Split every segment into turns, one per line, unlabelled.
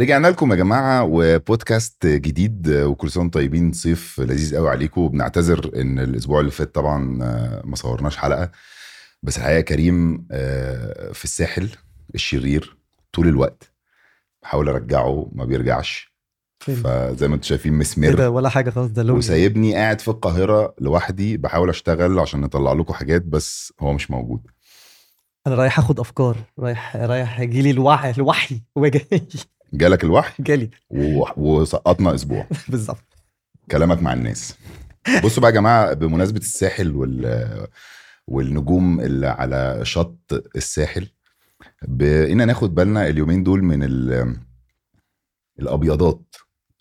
رجعنا لكم يا جماعه وبودكاست جديد وكل سنه وانتم طيبين صيف لذيذ قوي عليكم وبنعتذر ان الاسبوع اللي فات طبعا آه، ما صورناش حلقه بس الحقيقه كريم آه، في الساحل الشرير طول الوقت بحاول ارجعه ما بيرجعش
فين؟
فزي ما انتم شايفين
ايه
مسمر
ده ولا حاجه خالص ده لون يعني.
وسايبني قاعد في القاهره لوحدي بحاول اشتغل عشان نطلع لكم حاجات بس هو مش موجود
انا رايح اخد افكار رايح رايح جيلي الوعي الوحي هو جاي
جالك الوحي
جالي
و- وسقطنا اسبوع
بالظبط
كلامك مع الناس بصوا بقى يا جماعه بمناسبه الساحل وال والنجوم اللي على شط الساحل بقينا ناخد بالنا اليومين دول من ال الابيضات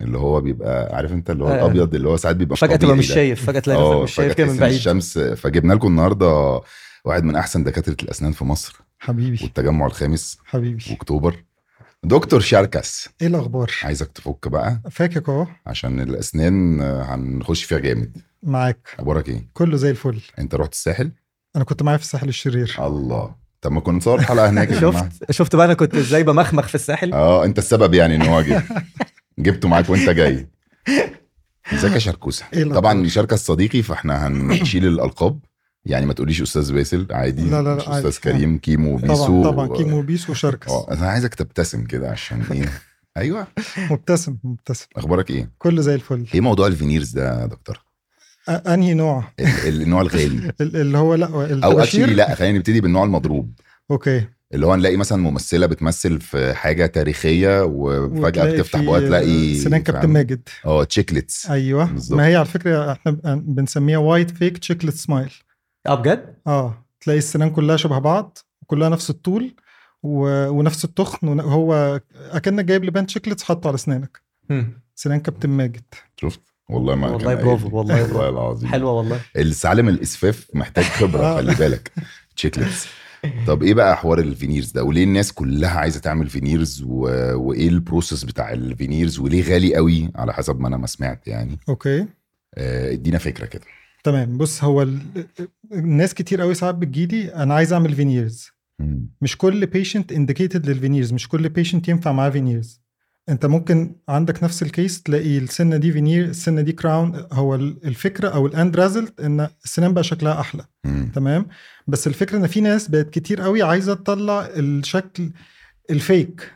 اللي هو بيبقى عارف انت اللي هو
آه.
الابيض اللي هو ساعات بيبقى
فجاه تبقى
طبيعي
مش
ده.
شايف فجاه تلاقي
اه
نفسك مش شايف
فجأة
كده من
تحس إن
بعيد
الشمس فجبنا لكم النهارده واحد من احسن دكاتره الاسنان في مصر
حبيبي
والتجمع الخامس
حبيبي
واكتوبر دكتور شاركس
ايه الاخبار
عايزك تفك بقى
فاكك اهو
عشان الاسنان آه، هنخش فيها جامد
معاك
اخبارك ايه
كله زي الفل
انت رحت الساحل
انا كنت معايا في الساحل الشرير
الله طب ما كنا نصور حلقه هناك يا جماعه
شفت شفت بقى انا كنت ازاي بمخمخ في الساحل
اه انت السبب يعني ان هو جه جبته معاك وانت جاي ازيك يا شركوسه
إيه الأخبار؟
طبعا شركه صديقي فاحنا هنشيل الالقاب يعني ما تقوليش استاذ باسل عادي
لا، لا، لا،
مش
عادي.
استاذ كريم كيمو بيسو
طبعا طبعا كيمو بيس وشركس
اه انا عايزك تبتسم كده عشان ايه ايوه
مبتسم مبتسم
اخبارك ايه
كله زي الفل
ايه موضوع الفينيرز ده يا دكتور
أ- انهي نوع
ال- ال- النوع الغالي
ال- اللي هو لا
او اكشلي
الطباشير
لا خلينا نبتدي بالنوع المضروب
اوكي
اللي هو نلاقي مثلا ممثله بتمثل في حاجه تاريخيه وفجاه
وتلاقي
بتفتح
في
بقى تلاقي
سنان كابتن
فاهم؟
ماجد
اه تشيكلتس
ايوه
بالظبط.
ما هي على فكره احنا ب- بنسميها وايت فيك تشيكلت سمايل
اه بجد
اه تلاقي السنان كلها شبه بعض كلها نفس الطول و... ونفس التخن وهو اكنك جايب لبان تشيكلتس حاطه على اسنانك
مم.
سنان كابتن ماجد
شفت والله ما
والله
كان
برافو،
قايل.
والله برافو.
والله العظيم حلو
حلوه والله
السعلم الاسفاف محتاج خبره
آه.
خلي بالك تشيكلتس طب ايه بقى حوار الفينيرز ده وليه الناس كلها عايزه تعمل فينيرز و... وايه البروسيس بتاع الفينيرز وليه غالي قوي على حسب ما انا ما سمعت يعني
اوكي
آه، ادينا فكره كده
تمام بص هو ال... الناس كتير قوي ساعات بتجيلي انا عايز اعمل فينيرز
مم.
مش كل بيشنت انديكيتد للفينيرز مش كل بيشنت ينفع معاه فينيرز انت ممكن عندك نفس الكيس تلاقي السنه دي فينير السنه دي كراون هو ال- الفكره او الاند ريزلت ان السنان بقى شكلها احلى
مم.
تمام بس الفكره ان في ناس بقت كتير قوي عايزه تطلع الشكل الفيك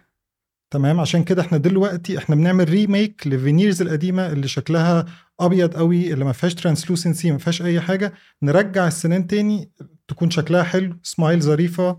تمام عشان كده احنا دلوقتي احنا بنعمل ريميك للفينيرز القديمه اللي شكلها ابيض قوي اللي ما فيهاش ترانسلوسنسي ما فيهاش اي حاجه نرجع السنان تاني تكون شكلها حلو سمايل ظريفه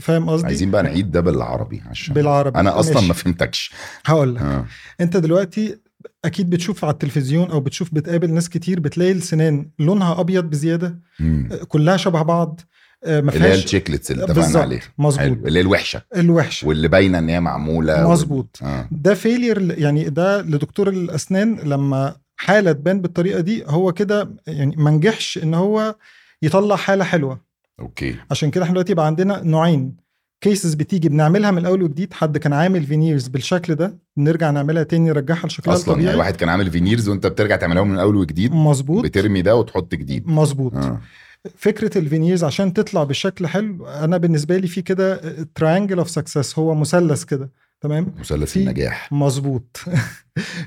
فاهم قصدي
عايزين بقى نعيد ده بالعربي عشان
بالعربي
انا اصلا
ماشي.
ما فهمتكش
هقول لك
آه.
انت دلوقتي اكيد بتشوف على التلفزيون او بتشوف بتقابل ناس كتير بتلاقي السنان لونها ابيض بزياده
مم.
كلها شبه بعض آه، ما
اللي هي
فيهاش
التشيكلتس اللي اتفقنا
بالظبط.
عليها
مظبوط
حلو اللي هي الوحشه
الوحشه
واللي باينه ان هي معموله وال-
مظبوط
اه
ده فيلير يعني ده لدكتور الاسنان لما حاله تبان بالطريقه دي هو كده يعني ما نجحش ان هو يطلع حاله حلوه
اوكي
عشان كده احنا دلوقتي بقى عندنا نوعين كيسز بتيجي بنعملها من الاول وجديد حد كان عامل فينيرز بالشكل ده بنرجع نعملها تاني نرجعها لشكلها
اصلا يعني
الطبيعي
واحد كان عامل فينيرز وانت بترجع تعملهم من اول وجديد
مظبوط
بترمي ده وتحط جديد
مظبوط
اه
فكره الفينيرز عشان تطلع بالشكل حلو انا بالنسبه لي في كده تراينجل اوف سكسس هو مثلث كده تمام
مثلث
في-
النجاح
مظبوط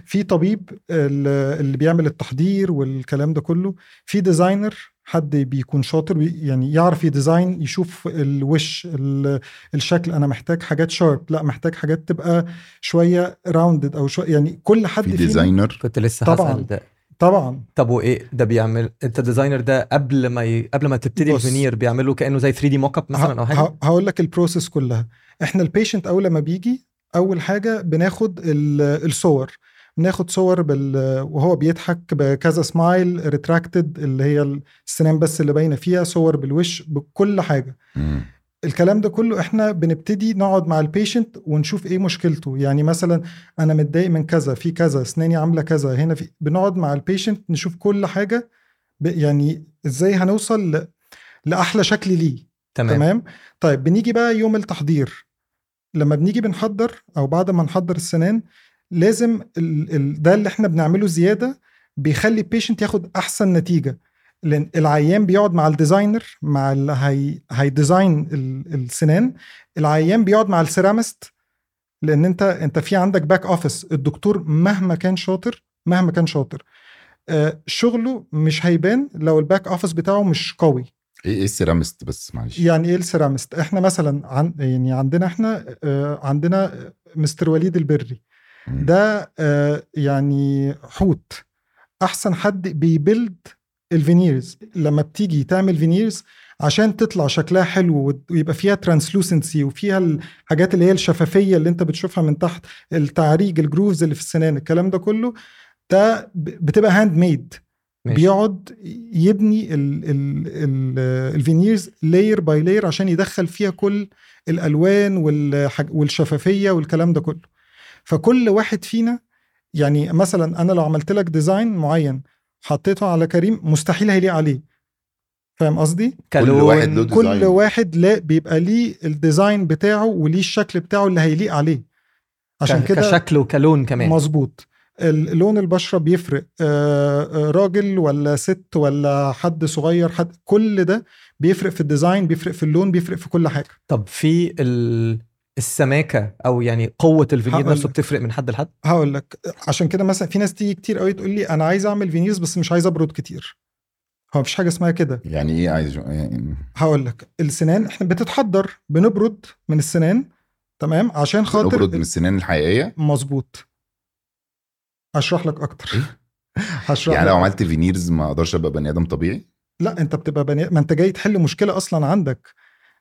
في طبيب ال- اللي بيعمل التحضير والكلام ده كله في ديزاينر حد بيكون شاطر وي- يعني يعرف يديزاين يشوف الوش ال- الشكل انا محتاج حاجات شارب لا محتاج حاجات تبقى شويه راوندد او شويه يعني كل حد
في
فينا-
ديزاينر
كنت لسه
طبعاً.
هسال ده
طبعا
طب وايه ده بيعمل انت ديزاينر ده قبل ما ي... قبل ما تبتدي
بص.
الفينير بيعمله كانه زي 3 دي موك اب مثلا او حاجه
ه- هقول لك البروسيس كلها احنا البيشنت اول ما بيجي اول حاجه بناخد ال- الصور بناخد صور بال وهو بيضحك بكذا سمايل ريتراكتد اللي هي السنان بس اللي باينه فيها صور بالوش بكل حاجه
مم.
الكلام ده كله احنا بنبتدي نقعد مع البيشنت ونشوف ايه مشكلته يعني مثلا انا متضايق من كذا في كذا اسناني عامله كذا هنا في بنقعد مع البيشنت نشوف كل حاجه ب- يعني ازاي هنوصل ل- لاحلى شكل ليه
تمام,
تمام طيب بنيجي بقى يوم التحضير لما بنيجي بنحضر او بعد ما نحضر السنان لازم ال ال ده اللي احنا بنعمله زياده بيخلي البيشنت ياخد احسن نتيجه لان العيان بيقعد مع الديزاينر مع اللي هي هيديزاين ال- السنان العيان بيقعد مع السيرامست لان انت انت في عندك باك اوفيس الدكتور مهما كان شاطر مهما كان شاطر آه، شغله مش هيبان لو الباك اوفيس بتاعه مش قوي
ايه ايه السيرامست بس معلش
يعني ايه السيرامست احنا مثلا عن يعني عندنا احنا آه، عندنا مستر وليد البري
مم.
ده آه، يعني حوت احسن حد بيبلد الفينيرز لما بتيجي تعمل فينيرز عشان تطلع شكلها حلو وت- ويبقى فيها ترانسلوسنسي وفيها الحاجات اللي هي الشفافيه اللي انت بتشوفها من تحت التعريج الجروفز اللي في السنان الكلام ده كله ده ب- بتبقى هاند ميد
ماشي.
بيقعد يبني ال ال ال الفينيرز لاير باي لاير عشان يدخل فيها كل الالوان والحاج- والشفافيه والكلام ده كله فكل واحد فينا يعني مثلا انا لو عملت لك ديزاين معين حطيته على كريم مستحيل هيليق عليه فاهم قصدي
كل
كلون.
واحد له ديزاين.
كل واحد لا بيبقى ليه الديزاين بتاعه وليه الشكل بتاعه اللي هيليق عليه عشان
ك-
كده
كشكل وكلون كمان
مظبوط ال- لون البشره بيفرق آه، آه، راجل ولا ست ولا حد صغير حد كل ده بيفرق في الديزاين بيفرق في اللون بيفرق في كل حاجه
طب في ال... السماكه او يعني قوه الفينير
هقول
نفسه
لك.
بتفرق من حد لحد
هقول لك عشان كده مثلا في ناس تيجي كتير قوي تقول لي انا عايز اعمل فينيرز بس مش عايز ابرد كتير هو مفيش حاجه اسمها كده
يعني ايه عايز جو- يعني
هقول لك السنان احنا بتتحضر بنبرد من السنان تمام عشان
نبرد من
خاطر
السنان الحقيقيه
مظبوط هشرح لك اكتر هشرح
إيه؟ يعني
لك
لو عملت فينيرز ما اقدرش ابقى بني ادم طبيعي
لا انت بتبقى بني ما انت جاي تحل مشكله اصلا عندك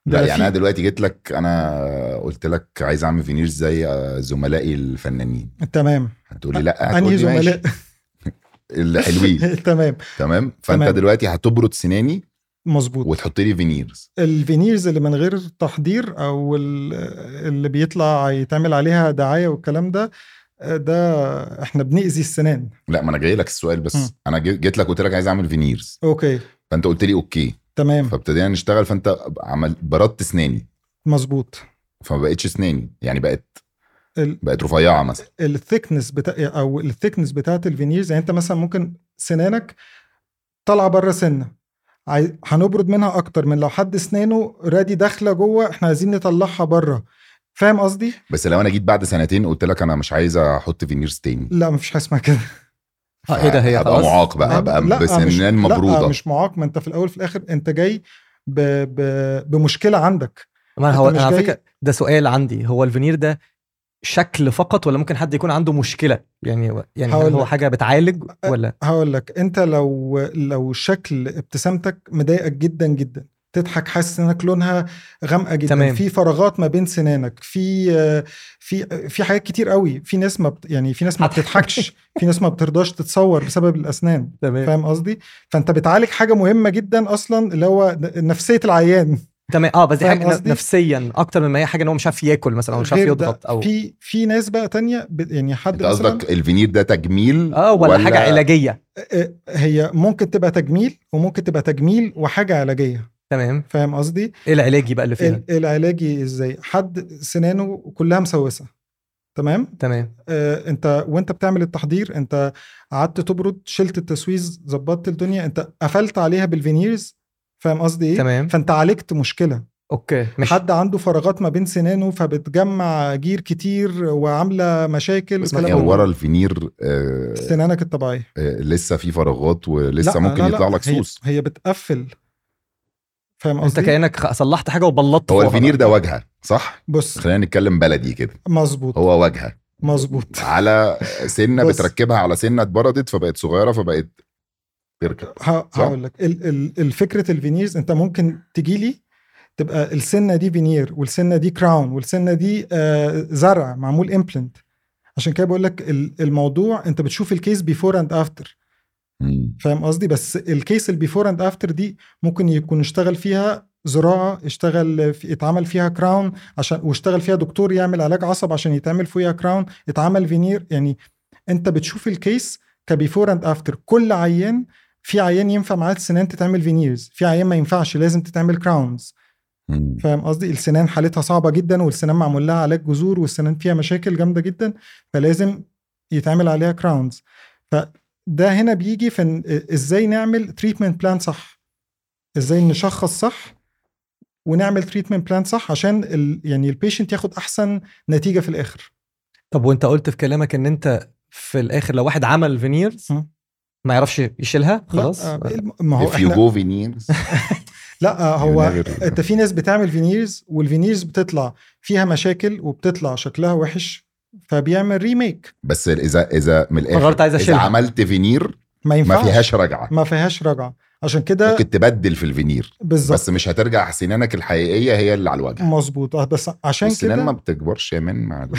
ده
لا يعني
في-
انا دلوقتي جيت لك انا قلت لك عايز اعمل فينيرز زي آه، زملائي الفنانين
تمام
هتقولي لا
انهي
هتقولي
زملاء
ماشي اللي حلوين
تمام
تمام فانت
تمام.
دلوقتي هتبرد سناني
مظبوط
وتحط لي فينيرز
الفينيرز اللي من غير تحضير او ال- اللي بيطلع يتعمل عليها دعايه والكلام ده ده احنا بنأذي السنان
لا ما انا جاي لك السؤال بس
مم.
انا جي- جيت لك قلت لك عايز اعمل فينيرز
اوكي
فانت قلت لي اوكي
تمام
فابتدينا نشتغل فانت عمل بردت سناني
مظبوط
فما بقتش سناني يعني بقت
ال-
بقت رفيعه مثلا
الثيكنس بتاع او الثيكنس بتاعت الفينيرز يعني انت مثلا ممكن سنانك طالعه بره سنه عاي- هنبرد منها اكتر من لو حد اسنانه رادي داخله جوه احنا عايزين نطلعها بره فاهم قصدي
بس لو انا جيت بعد سنتين قلت لك انا مش عايز احط فينيرز تاني
لا مفيش حاجه اسمها كده آه،
اه
إيه
ايه ده هي
هبقى
خلاص
معاق بقى
لا،
هبقى
مش-
بسنان
لا
مبروده
مش معاق ما انت في الاول في الاخر انت جاي ب... ب... بمشكله عندك
ما هو
أنت مش
انا على
جاي-
فكره ده سؤال عندي هو الفينير ده شكل فقط ولا ممكن حد يكون عنده مشكله يعني يعني هل
هقول
هو
لك.
حاجه بتعالج ولا
هقول لك انت لو لو شكل ابتسامتك مضايقك جدا جدا تضحك حاسس انك لونها غامقه جدا
تمام.
في فراغات ما بين سنانك في آه، في آه، في حاجات كتير قوي في ناس ما بت... يعني في ناس ما
هضحك.
بتضحكش في ناس ما بترضاش تتصور بسبب الاسنان
تمام
فاهم قصدي فانت بتعالج حاجه مهمه جدا اصلا اللي هو ن- نفسيه العيان
تمام اه بس دي
فاهم
حاجه ن-
قصدي؟
نفسيا اكتر من ما هي حاجه ان هو مش عارف ياكل مثلا او مش عارف
غير ده،
يضغط او
في في ناس بقى تانية ب... يعني حد آه،
انت
مثلا
قصدك الفينير ده تجميل
اه ولا, حاجه علاجيه
آه، هي ممكن تبقى تجميل وممكن تبقى تجميل وحاجه علاجيه
تمام
فاهم قصدي
ايه العلاجي بقى اللي فيها
ال- العلاجي ازاي حد سنانه كلها مسوسه تمام
تمام
آه انت وانت بتعمل التحضير انت قعدت تبرد شلت التسويز ظبطت الدنيا انت قفلت عليها بالفينيرز فاهم قصدي ايه
تمام
فانت عالجت مشكله
اوكي مش
حد عنده فراغات ما بين سنانه فبتجمع جير كتير وعامله مشاكل
بس
والكلام
يعني
ده كله.
ورا الفينير آه،
سنانك الطبيعيه
آه، لسه في فراغات ولسه
لا،
ممكن
لا، لا،
يطلع لك
هي-
سوس
هي بتقفل فاهم
انت
قصدي إيه؟
كانك خ- صلحت حاجه وبلطت
هو
فوقها
الفينير
بقى.
ده واجهه صح
بص
خلينا نتكلم بلدي كده
مظبوط
هو واجهه
مظبوط
على سنه
بص.
بتركبها على سنه اتبردت فبقت صغيره فبقت تركب
ه-
صح؟
هقول لك ال- ال- الفكره الفينيرز انت ممكن تجي لي تبقى السنه دي فينير والسنه دي كراون والسنه دي آه، زرع معمول امبلنت عشان كده بقول لك ال- الموضوع انت بتشوف الكيس بيفور اند افتر
مم.
فاهم قصدي بس الكيس البيفور اند افتر دي ممكن يكون اشتغل فيها زراعه اشتغل في اتعمل فيها كراون عشان واشتغل فيها دكتور يعمل علاج عصب عشان يتعمل فيها كراون اتعمل فينير يعني انت بتشوف الكيس كبيفور اند افتر كل عيان في عيان ينفع معاه السنان تتعمل فينيرز في عيان ما ينفعش لازم تتعمل كراونز
مم.
فاهم قصدي السنان حالتها صعبه جدا والسنان معمول لها علاج جذور والسنان فيها مشاكل جامده جدا فلازم يتعمل عليها كراونز فده هنا بيجي في إن ازاي نعمل تريتمنت بلان صح ازاي نشخص صح ونعمل تريتمنت بلان صح عشان ال يعني البيشنت ياخد احسن نتيجه في الاخر
طب وانت قلت في كلامك ان انت في الاخر لو واحد عمل فينيرز
مم.
ما يعرفش يشيلها
لا،
خلاص
آه، ما هو
if you
احنا
go veneers
لا آه، هو
you never-
انت في ناس بتعمل فينيرز والفينيرز بتطلع فيها مشاكل وبتطلع شكلها وحش فبيعمل ريميك
بس اذا اذا من الاخر
قررت عايز
اذا
اشيلها
عملت فينير
ما ينفعش
ما فيهاش رجعه
ما فيهاش رجعه عشان كده
ممكن تبدل في الفينير
بالظبط
بس مش هترجع سنانك الحقيقيه هي اللي على الوجه
مظبوط آه، بس عشان
السنان
كده
ما بتكبرش يا من مع ال-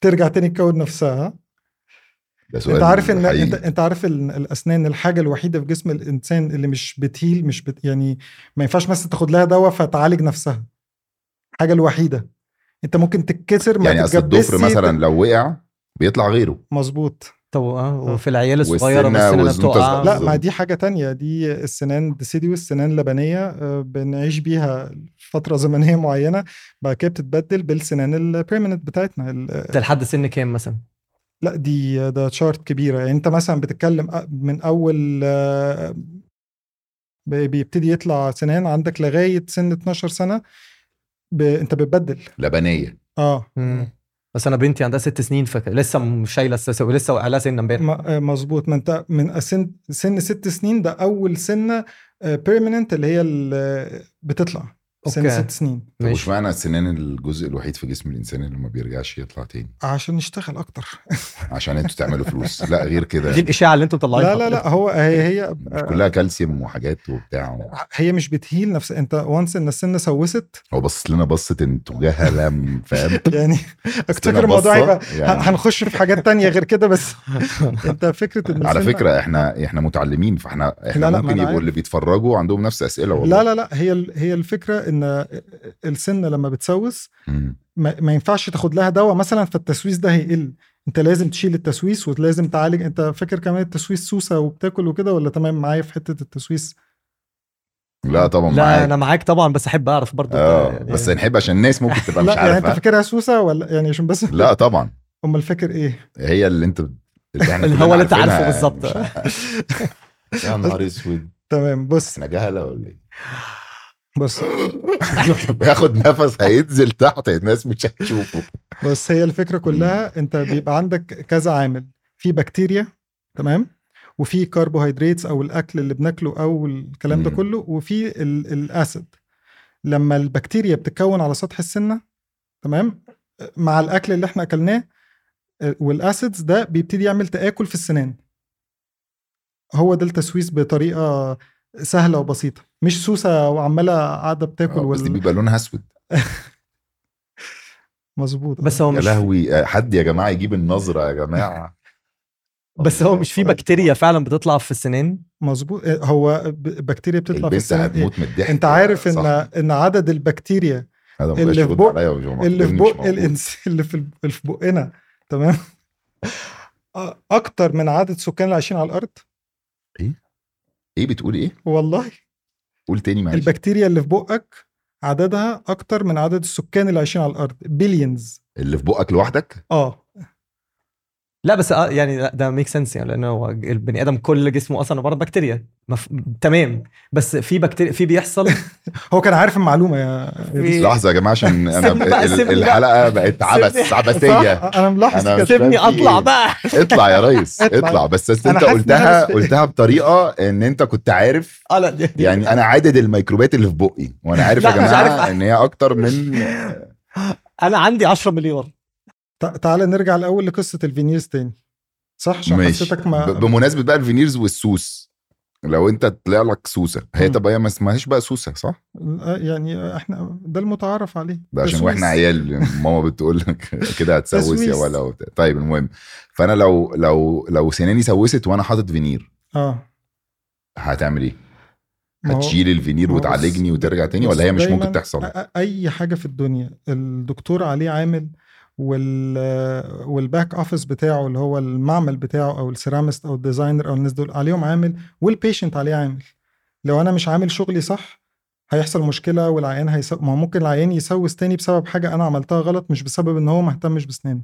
ترجع تاني تكون نفسها
ده سؤال
انت عارف ان
حقيقي.
انت, انت عارف ال- الاسنان الحاجه الوحيده في جسم الانسان اللي مش بتهيل مش بت يعني ما ينفعش مثلا تاخد لها دواء فتعالج نفسها الحاجه الوحيده انت ممكن تتكسر ما
يعني اصل
تتجبسش،
الضفر مثلا لو وقع بيطلع غيره
مظبوط
طب آه، وفي العيال
والسنة
الصغيره مثلا
وزنوطة
بتقع
صغيرة.
لا
آه، بالظبط.
ما دي حاجة تانية دي السنان ديسيديوس سنان لبنية آه، بنعيش بيها فترة زمنية معينة بعد كده بتتبدل بالسنان البريمننت بتاعتنا ال-
ده لحد سن كام مثلا؟
لا دي ده تشارت كبيرة يعني انت مثلا بتتكلم أ- من أول آه، ب- بيبتدي يطلع سنان عندك لغاية سن 12 سنة ب... انت بتبدل
لبنيه
اه
مم. بس انا بنتي عندها ست سنين فلسه م- شايله السلسله ولسه واقع لها سن امبارح
م- آه، مظبوط ما انت من سن سن ست سنين ده أول سنة بيرمننت اللي هي ال- بتطلع سن
أوكي.
ست سنين
طب
ماشي
واشمعنى السنان الجزء الوحيد في جسم الانسان اللي ما بيرجعش يطلع تاني
عشان نشتغل اكتر
عشان انتوا تعملوا فلوس لا غير كده
دي الاشاعه اللي انتوا مطلعينها
لا لا لا هو هي هي
مش كلها كالسيوم وحاجات وبتاع
هي مش بتهيل نفسها انت وانس ان السن سوست
هو بص لنا بصه انتوا جهلم فاهم
يعني افتكر الموضوع هيبقى
يعني.
ه- هنخش في حاجات تانية غير كده بس انت فكره ان
على
السن-
فكره احنا احنا متعلمين فاحنا احنا
لا، ما
لا
أنا
ممكن
عارف.
يبقوا اللي بيتفرجوا عندهم نفس اسئله والله
لا لا لا هي ال- هي الفكره ان السن لما بتسوس
مم.
ما, ما ينفعش تاخد لها دواء مثلا فالتسويس ده هيقل انت لازم تشيل التسويس ولازم تعالج انت فاكر كمان التسويس سوسه وبتاكل وكده ولا تمام معايا في حته التسويس
لا طبعا
لا
معاك.
انا معاك طبعا بس احب اعرف برضه
اه
يعني-
بس نحب عشان الناس ممكن تبقى
لا
مش
يعني انت
عارفه
فاكرها سوسه ولا يعني عشان بس
لا طبعا
امال فاكر ايه
هي اللي انت اللي احنا
اللي
كلنا
هو اللي انت
عارفينها
عارفه
يعني.
بالظبط.
مش عارف. يا نهار اسود
تمام بص
احنا جهله ولا ايه؟
بص
بياخد نفس هينزل تحت الناس مش هتشوفه
بس هي الفكره كلها انت بيبقى عندك كذا عامل في بكتيريا تمام وفي كربوهيدرات او الاكل اللي بناكله او الكلام ده
مم.
كله وفي ال- الاسيد لما البكتيريا بتتكون على سطح السنه تمام مع الاكل اللي احنا اكلناه آه، والاسيدز ده بيبتدي يعمل تاكل في السنان هو ده التسويس بطريقه سهله وبسيطه مش سوسه وعماله قاعده بتاكل
آه، بس دي
وال...
بيبقى لونها اسود
مظبوط
بس هو
يا
مش
لهوي آه، حد يا جماعه يجيب النظره يا جماعه
بس هو
آه.
مش في بكتيريا فعلا بتطلع في السنان
مظبوط إيه، هو ب- بكتيريا بتطلع في
البنت
السنان إيه؟
هتموت من الضحك
انت عارف ان
صح.
ان عدد البكتيريا
هذا ما
اللي
بقاش
في
يرد
بق-
عليا ويقول ما
اللي في
مش
بق
موجود.
الانسان اللي في الب- اللي في بقنا تمام أ- اكتر من عدد سكان اللي عايشين على الارض
ايه بتقول ايه؟
والله
قول تاني معلش
البكتيريا اللي في بقك عددها اكتر من عدد السكان اللي عايشين على الارض بليونز
اللي في بقك لوحدك
اه
لا بس آه يعني لا، ده ميك سنس يعني لانه هو البني ادم كل جسمه اصلا عباره عن بكتيريا مف... تمام بس في بكتيريا في بيحصل
هو كان عارف المعلومه يا يا
إيه؟
لحظه يا جماعه عشان انا
سيبني بقى،
ال-
سيبني بقى.
الحلقه بقت عبث
سيبني.
عبثيه
صح، انا ملاحظ
أنا
كده
مش فاهم
سيبني
في إيه.
اطلع بقى
اطلع يا ريس
اطلع.
اطلع بس أصل
أنا
انت
حاسس إن أنا
قلتها
مش-
قلتها بطريقه ان انت كنت عارف
اه لا دي دي-
يعني انا عدد الميكروبات اللي في بقي وانا عارف يا
لا، مش
جماعه
عارف.
ان هي اكتر من
انا عندي 10 مليار
تع- تعالى نرجع الاول لقصه الفينيرز تاني صح عشان
ماشي
حسيتك ما
ب- بمناسبه بقى الفينيرز والسوس لو انت طلع لك سوسه هي
مم.
تبقى هي ما اسمهاش بقى سوسه صح؟
آه، يعني احنا ده المتعارف عليه
ده عشان واحنا
تسويس.
عيال ماما بتقول لك كده هتسوس يا
تسويس.
ولا وبتاع. طيب المهم فانا لو لو لو سناني سوست وانا حاطط فينير
اه
هتعمل ايه؟
ما هو-
هتشيل الفينير
ما هو
وتعالجني
بس-
وترجع تاني ولا
بس
هي مش
دايماً
ممكن تحصل؟
أ- أ- اي حاجه في الدنيا الدكتور عليه عامل وال والباك اوفيس بتاعه اللي هو المعمل بتاعه او السيرامست او الديزاينر او الناس دول عليهم عامل والبيشنت عليه عامل لو انا مش عامل شغلي صح هيحصل مشكله والعيان هيسو... ما هو ممكن العيان يسوس تاني بسبب حاجه انا عملتها غلط مش بسبب ان هو ما اهتمش بسنانه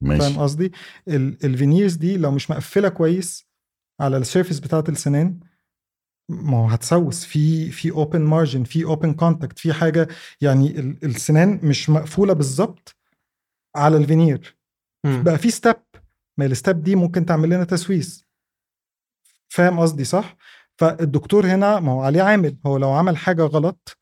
فاهم
ماشي
قصدي ال- الفينيرز دي لو مش مقفله كويس على السيرفيس بتاعه السنان ما هو هتسوس في في اوبن مارجن في اوبن كونتاكت في حاجه يعني ال- السنان مش مقفوله بالظبط على الفينير
مم.
بقى في ستيب ما الستيب دي ممكن تعمل لنا تسويس فاهم قصدي صح فالدكتور هنا ما هو عليه عامل هو لو عمل حاجه غلط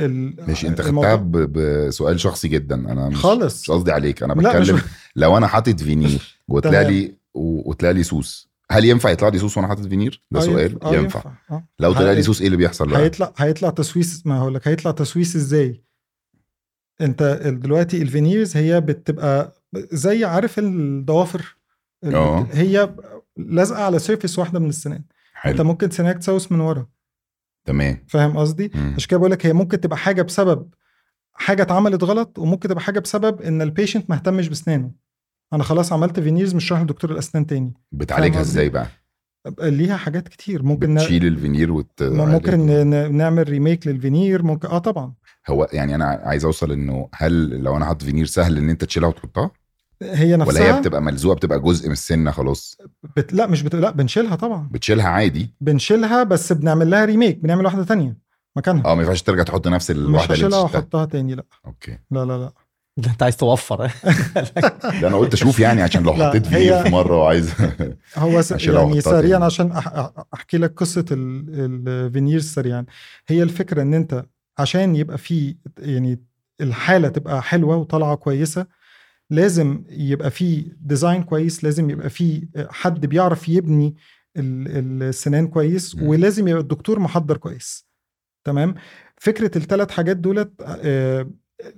ال-
مش انت خدتها
الموضوع-
ب- بسؤال شخصي جدا انا مش
خالص
مش قصدي عليك انا
لا مش
بتكلم لو انا حاطط فينير وطلع
تمام.
لي و- وطلع لي سوس هل ينفع يطلع لي سوس وانا حاطط فينير ده
آه،
سؤال
آه،
ينفع
آه.
لو طلع لي
هي-
سوس ايه اللي بيحصل بقى
هيطلع هيطلع تسويس ما هقول لك هيطلع تسويس ازاي انت ال- دلوقتي الفينيرز هي بتبقى زي عارف الضوافر ال-
آه.
هي لازقه على سيرفيس واحده من السنان انت
حلو
ممكن سنانك تسوس من ورا
تمام
فاهم قصدي
مم.
عشان كده بقول لك هي ممكن تبقى حاجه بسبب حاجه اتعملت غلط وممكن تبقى حاجه بسبب ان البيشنت ما اهتمش بسنانه انا خلاص عملت فينيرز مش رايح لدكتور الاسنان تاني
بتعالجها
فاهم قصدي؟
ازاي بقى
ليها حاجات كتير ممكن ن-
بتشيل الفينير وت...
ممكن ن- نعمل ريميك للفينير ممكن اه طبعا
هو يعني انا عايز اوصل انه هل لو انا حاطط فينير سهل ان انت تشيلها وتحطها
هي نفسها
ولا هي بتبقى ملزوقه بتبقى جزء من السنه خلاص
بت... لا مش بت... لا بنشيلها طبعا
بتشيلها عادي
بنشيلها بس بنعمل لها ريميك بنعمل واحده تانية مكانها
اه ما ينفعش ترجع تحط نفس
مش
الواحده اللي
هشيلها
انت شلتها.
واحطها تاني لا
اوكي
لا لا لا
ده انت عايز توفر
ده انا قلت اشوف يعني عشان لو
لا،
حطيت
هي-
فينير في مره وعايز
هو س...
هشيلها
يعني
واحطها
سريعا
تاني.
عشان أح... أح- احكي لك قصه ال... الفينير سريعا هي الفكره ان انت عشان يبقى في يعني الحاله تبقى حلوه وطالعه كويسه لازم يبقى في ديزاين كويس لازم يبقى في حد بيعرف يبني ال- السنان كويس
مم.
ولازم يبقى الدكتور محضر كويس تمام فكره الثلاث حاجات دولت آه،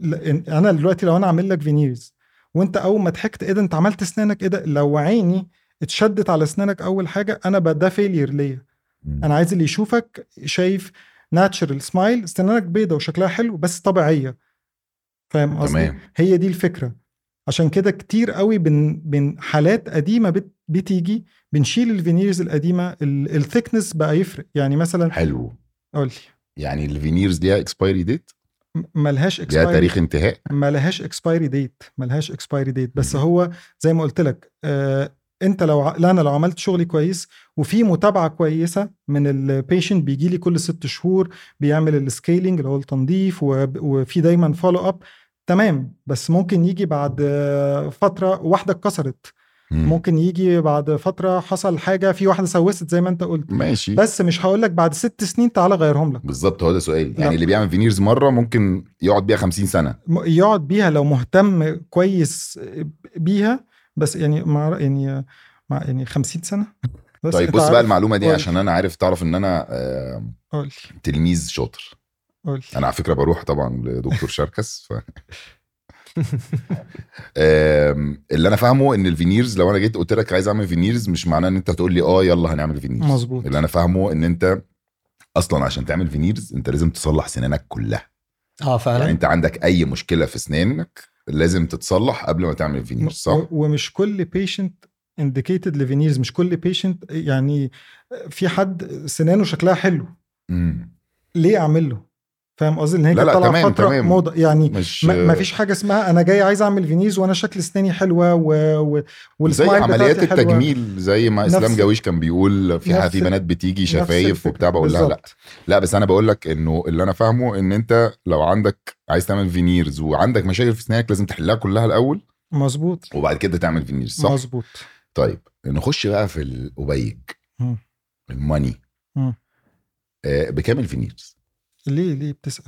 ل- إن- انا دلوقتي لو انا عامل لك فينيرز وانت اول ما ضحكت ايه ده انت عملت اسنانك ايه ده لو عيني اتشدت على اسنانك اول حاجه انا بقى ده فيلير ليا انا عايز اللي يشوفك شايف ناتشرال سمايل اسنانك بيضه وشكلها حلو بس طبيعيه فاهم قصدي
تمام
هي دي الفكره عشان كده كتير قوي بن بن حالات قديمه بت بتيجي بنشيل الفينيرز القديمه الثيكنس بقى يفرق يعني مثلا
حلو
قول لي
يعني الفينيرز ليها اكسبايري ديت
م- ملهاش
ليها
اكسبايري
تاريخ انتهاء
ملهاش اكسبايري ديت ملهاش اكسبايري ديت بس
مم.
هو زي ما قلت لك آه انت لو ع- لا انا لو عملت شغلي كويس وفي متابعه كويسه من البيشنت بيجي لي كل ست شهور بيعمل السكيلينج اللي هو التنظيف وب- وفي دايما فولو اب تمام بس ممكن يجي بعد آه، فتره واحده اتكسرت
مم.
ممكن يجي بعد فتره حصل حاجه في واحده سوست زي ما انت قلت
ماشي
بس مش هقول لك بعد ست سنين تعالى غيرهم لك
بالظبط هو ده سؤال
لا.
يعني اللي بيعمل فينيرز مره ممكن يقعد بيها 50 سنه
م- يقعد بيها لو مهتم كويس بيها بس يعني مع يعني مع يعني 50 سنه بس
طيب
أنت
بص بقى
عارف-
المعلومه دي
قول.
عشان انا عارف تعرف ان انا آه،
قول لي
تلميذ شاطر
قول لي
انا على فكره بروح طبعا لدكتور شركس ف... آم، اللي انا فاهمه ان الفينيرز لو انا جيت قلت لك عايز اعمل فينيرز مش معناه ان انت هتقول لي اه يلا هنعمل فينيرز
مظبوط.
اللي انا فاهمه ان انت اصلا عشان تعمل فينيرز انت لازم تصلح سنانك كلها
اه
أه؟
يعني
فعلا
انت عندك اي مشكله في سنانك لازم تتصلح قبل ما تعمل فينيرز صح
و- ومش كل بيشنت انديكيتد لفينيرز مش كل بيشنت يعني في حد سنانه شكلها حلو
مم.
ليه اعمل له فاهم قصدي ان هي
لا،
كانت
لا،
طالعه
تمام،
فتره
تمام.
موضه يعني
مش
ما ما فيش حاجه اسمها انا جاي عايز اعمل فينيز وانا شكل اسناني حلوه و... و...
زي
والسمايل
عمليات
بتاعتي حلوة.
التجميل زي ما اسلام
نفس-
جاويش كان بيقول في ح-
نفس-
في بنات بتيجي
نفس
شفايف
الفكرة.
وبتاع بقول لها لا
بالظبط.
لا بس انا بقول لك انه اللي انا فاهمه ان انت لو عندك عايز تعمل فينيرز وعندك مشاكل في سنانك لازم تحلها كلها الاول
مظبوط
وبعد كده تعمل فينيرز صح
مظبوط
طيب نخش بقى في الأبيج
مم.
الماني
مم.
آه، بكام الفينيرز
ليه ليه بتسال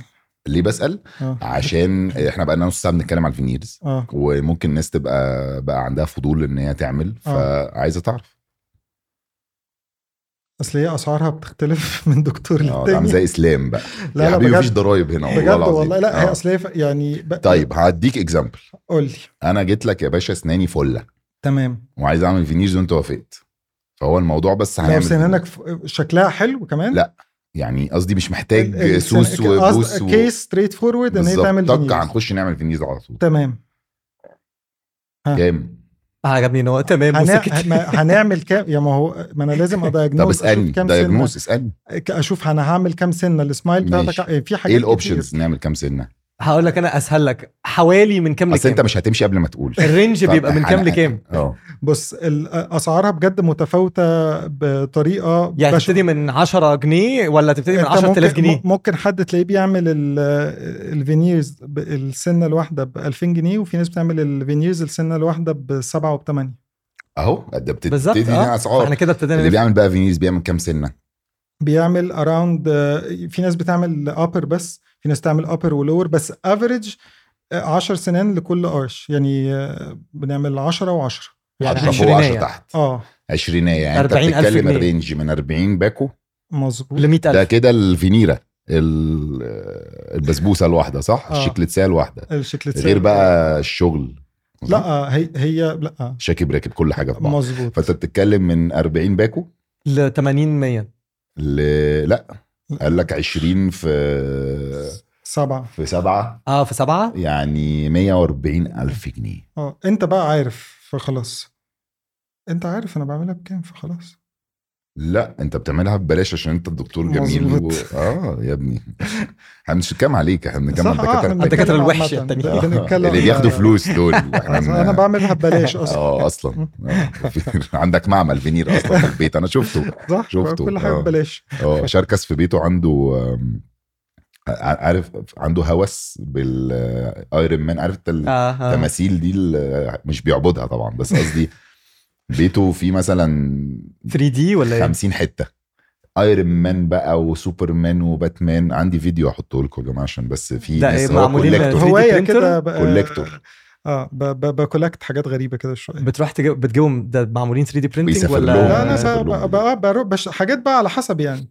ليه بسال
اه
عشان احنا بقى لنا نص ساعه بنتكلم على الفينيرز
اه
وممكن الناس تبقى بقى عندها فضول ان هي تعمل
آه.
فعايزه تعرف
اصل هي اسعارها بتختلف من دكتور
اه ده عم
للتاني
زي يعني اسلام بقى
لا
يا
لا
حبيبي مفيش
بجد
ضرايب هنا والله
بجد
العظيم
والله لا
آه.
هي اصل هي ف- يعني ب...
طيب هديك اكزامبل
قول لي
انا جيت لك يا باشا اسناني فله
تمام
وعايز اعمل فينيرز وانت وافقت فهو الموضوع بس
لو
هنعمل
سنانك ف- شكلها حلو كمان
لا، يعني قصدي مش محتاج
السن-
سوس
ك- قصد-
وبوس و...
كيس ستريت فورورد ان هي
بالظبط.
تعمل
طق
فينيرز
هنخش نعمل فينيز على طول
تمام آه.
كام
عجبني ان هو تمام
هنع...
وسكت
هن- هنعمل كام يا ما هو ما انا لازم ادايجنوز
طب اسالني
كام
دايجنوز اسالني
سنه اشوف انا هعمل كام سنه السمايل
ماشي.
بتاعتك في حاجات
ايه
كتير.
الاوبشنز نعمل كام سنه
هقول لك انا اسهل لك حوالي من كام
اصل
لكام
انت مش هتمشي قبل ما تقول
الرينج بيبقى من
فإحنا-
كام لكام
اه
بص ال- اسعارها بجد متفاوته بطريقه
يعني
بشعة.
تبتدي من 10 جنيه ولا تبتدي من
أنت
10000
ممكن-
جنيه
ممكن حد تلاقيه بيعمل ال- الفينيرز ب- السنه الواحده ب 2000 جنيه وفي ناس بتعمل الفينيرز السنه الواحده بسبعه وبثمانيه
اهو ده
بالظبط
بتبتدي آه. هنا
اه احنا
اسعار
كده ابتدينا
اللي
نفهم.
بيعمل بقى فينيز بيعمل كام سنه
بيعمل اراوند في ناس بتعمل ابر بس في ناس تعمل ابر ولور بس افريج 10 سنان لكل ارش يعني آه، بنعمل 10 و10
يعني
حتى فوق
عشرينية.
10 تحت
اه
عشرينية يعني انت
40,000
بتتكلم
جنيه.
الرينج من 40 باكو
مظبوط
ل
ده
100000
كده الفينيرة ال- البسبوسة الواحدة صح؟
آه.
الشكلتسية الواحدة
الشكل
غير بقى الشغل
لا آه، هي هي لا
شاكب راكب كل حاجة في بعض
مظبوط
فانت بتتكلم من 40 باكو
ل 80 100
ل... لا قال لك 20 في
سبعه
في سبعة
اه في سبعه
يعني 140 ألف جنيه
اه انت بقى عارف فخلاص انت عارف انا بعملها بكام فخلاص
لا انت بتعملها ببلاش عشان انت الدكتور جميل و...
مظبوط.
اه يا ابني احنا مش بنتكلم عليك احنا بنتكلم على
صح، آه، احنا
الدكاتره
الدكاترة
بنتكلم
الوحشة
عامة.
التانية.
آه،
بنتكلم
اللي بياخدوا
على-
فلوس دول
انا
احنا
بعملها ببلاش اصلا
اه اصلا آه، في- عندك معمل فينير اصلا في البيت انا شفته
صح
شفته،
كل حاجه
آه.
ببلاش
اه شركس في بيته عنده آم، ع- عارف عنده هوس بالايرون مان عارف انت
اه آه.
التماثيل دي ال- مش بيعبدها طبعا بس قصدي بيته فيه مثلا
3 دي ولا ايه
50 حته ايرون مان بقى وسوبرمان وباتمان عندي فيديو هحطه لكم يا جماعه عشان بس في
ده
ناس
إيه،
هو
معمولين
كوليكتور
3D
هوايه
printer؟
كده بقى-
كوليكتور
اه ب- ب- بكولكت حاجات غريبه كده شويه
بتروح تجيب بتجيبهم ده معمولين 3 دي برينتنج
بيسافر
لا
لهم.
ولا
لا
آه،
بقى- بقى- بقى- بقى- بش حاجات بقى على حسب يعني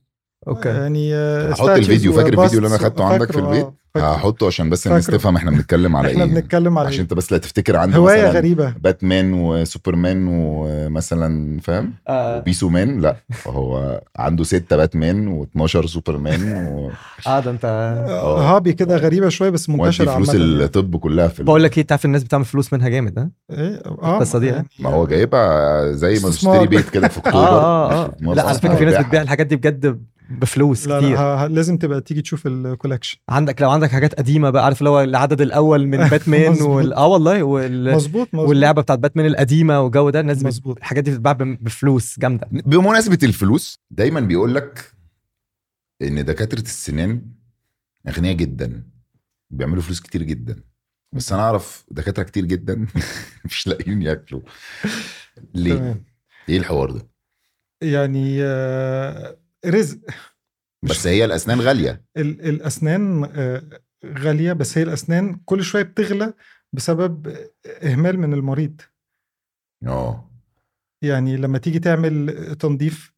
اوكي
يعني آه،
هحط الفيديو،
statues
فاكر الفيديو اللي أنا
وbusts،
أخدته عندك في
فاكره، آه،
البيت؟
فاكره.
هحطه عشان بس الناس
فاكره.
تفهم احنا بنتكلم على
احنا
ايه
بنتكلم على
طيب.
عشان
إيه؟
انت بس لا تفتكر عندي
هوايه
مثلا
غريبه
باتمان وسوبرمان ومثلا فاهم
اه
وبيسو مان لا هو عنده ستة باتمان و12 سوبرمان و...
آه، ده انت
آه.
هابي كده غريبه شويه بس
وادي
منتشره
فلوس
عامه يعني.
الطب كلها في ال-
بقول لك ايه تعرف الناس بتعمل فلوس منها جامد ها
إيه؟ اه
القصة دي،
يعني-
ما هو جايبها زي ما
استثمار.
تشتري بيت كده في
اه
اكتوبر
اه اه
مرة
لا على فكره
أسمع
في ناس
بيعها.
بتبيع الحاجات دي بجد بفلوس
لا آه.
كتير
لا ه- ه- لازم تبقى تيجي تشوف الكولكشن
عندك لو عندك حاجات قديمه بقى عارف اللي هو العدد الاول من باتمان
مظبوط.
وال... اه والله وال...
مظبوط مظبوط
واللعبه بتاعت باتمان القديمه والجو ده الناس بت...
مظبوط.
الحاجات دي بتتباع بم- بفلوس جامده
بمناسبة الفلوس دايما بيقول لك ان دكاترة السنان اغنياء جدا بيعملوا فلوس كتير جدا بس انا اعرف دكاترة كتير جدا مش لاقيين ياكلوا ليه؟
تمام
ايه الحوار ده؟
يعني آه، رزق
بس هي الاسنان غالية
ال- الاسنان آه، غاليه بس هي الاسنان كل شويه بتغلى بسبب اهمال من المريض
اه
يعني لما تيجي تعمل تنظيف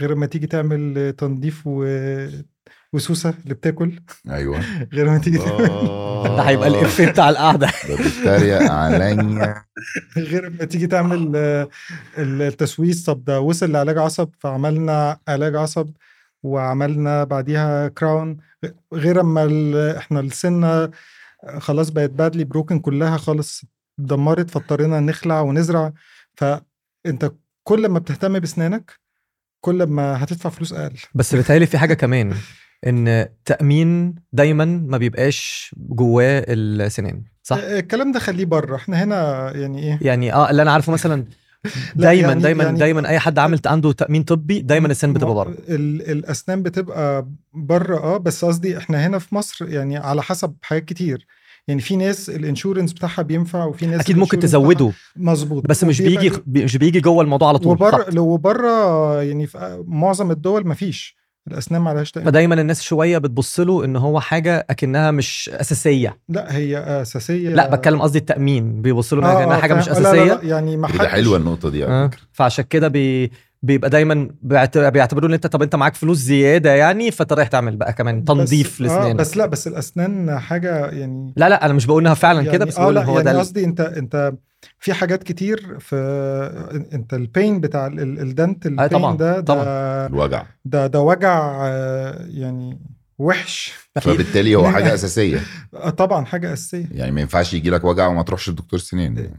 غير لما تيجي تعمل تنظيف و... وسوسه اللي بتاكل
ايوه
غير لما تيجي تعمل
ده هيبقى الافيه بتاع القعده
ده بيتريق عليا
غير لما تيجي تعمل آه، التسويس طب ده وصل لعلاج عصب فعملنا علاج عصب وعملنا بعديها كراون غير اما ال- احنا السنه خلاص بقت بادلي بروكن كلها خالص اتدمرت فاضطرينا نخلع ونزرع فانت كل ما بتهتم باسنانك كل ما هتدفع فلوس اقل
بس بيتهيألي في حاجه كمان ان تامين دايما ما بيبقاش جواه السنان صح
آه، الكلام ده خليه بره احنا هنا يعني ايه
يعني اه اللي انا عارفه مثلا
لا،
دايما
يعني-
دايما
يعني-
دايما اي حد عامل عنده تامين طبي دايما السن بتبقى
ما-
بره
ال- الاسنان بتبقى بره اه بس قصدي احنا هنا في مصر يعني على حسب حاجات كتير يعني في ناس الانشورنس بتاعها بينفع وفي ناس
اكيد ممكن
الإنشورنس بتاعها-
تزوده
مظبوط
بس مش
وبيبقى
بيجي
له-
بي- مش بيجي جوه الموضوع على طول
وبره
خط.
لو بره يعني في معظم الدول مفيش الاسنان ما عليهاش تأمين.
فدايما الناس شويه بتبص له ان هو حاجه اكنها مش اساسيه
لا هي اساسيه
لا بتكلم قصدي التامين بيبص له
آه،
انها كأنها
آه،
حاجه مش
فاهم. لا، لا،
اساسيه
لا، يعني ما
ده
حدش-
حلوة النقطة دي
آه.
على فكرة
فعشان كده بي بيبقى دايما بيعت- بيعتبروا ان انت طب انت معاك فلوس زياده يعني فانت رايح تعمل بقى كمان
بس-
تنظيف
آه
لاسنانك
بس لا بس الاسنان حاجه يعني
لا لا انا مش بقول انها فعلا
يعني
كده بس
اه
بقول
لا
ان هو
يعني
ده ال-
قصدي انت انت في حاجات كتير في انت البين بتاع ال- ال- الدنت البين
آه، طبعاً،
ده ده,
الوجع
ده ده وجع آه، يعني وحش
أكيد.
فبالتالي هو
من-
حاجة أساسية
آه، طبعا حاجه اساسيه
يعني ما ينفعش يجي لك وجع وما تروحش لدكتور سنين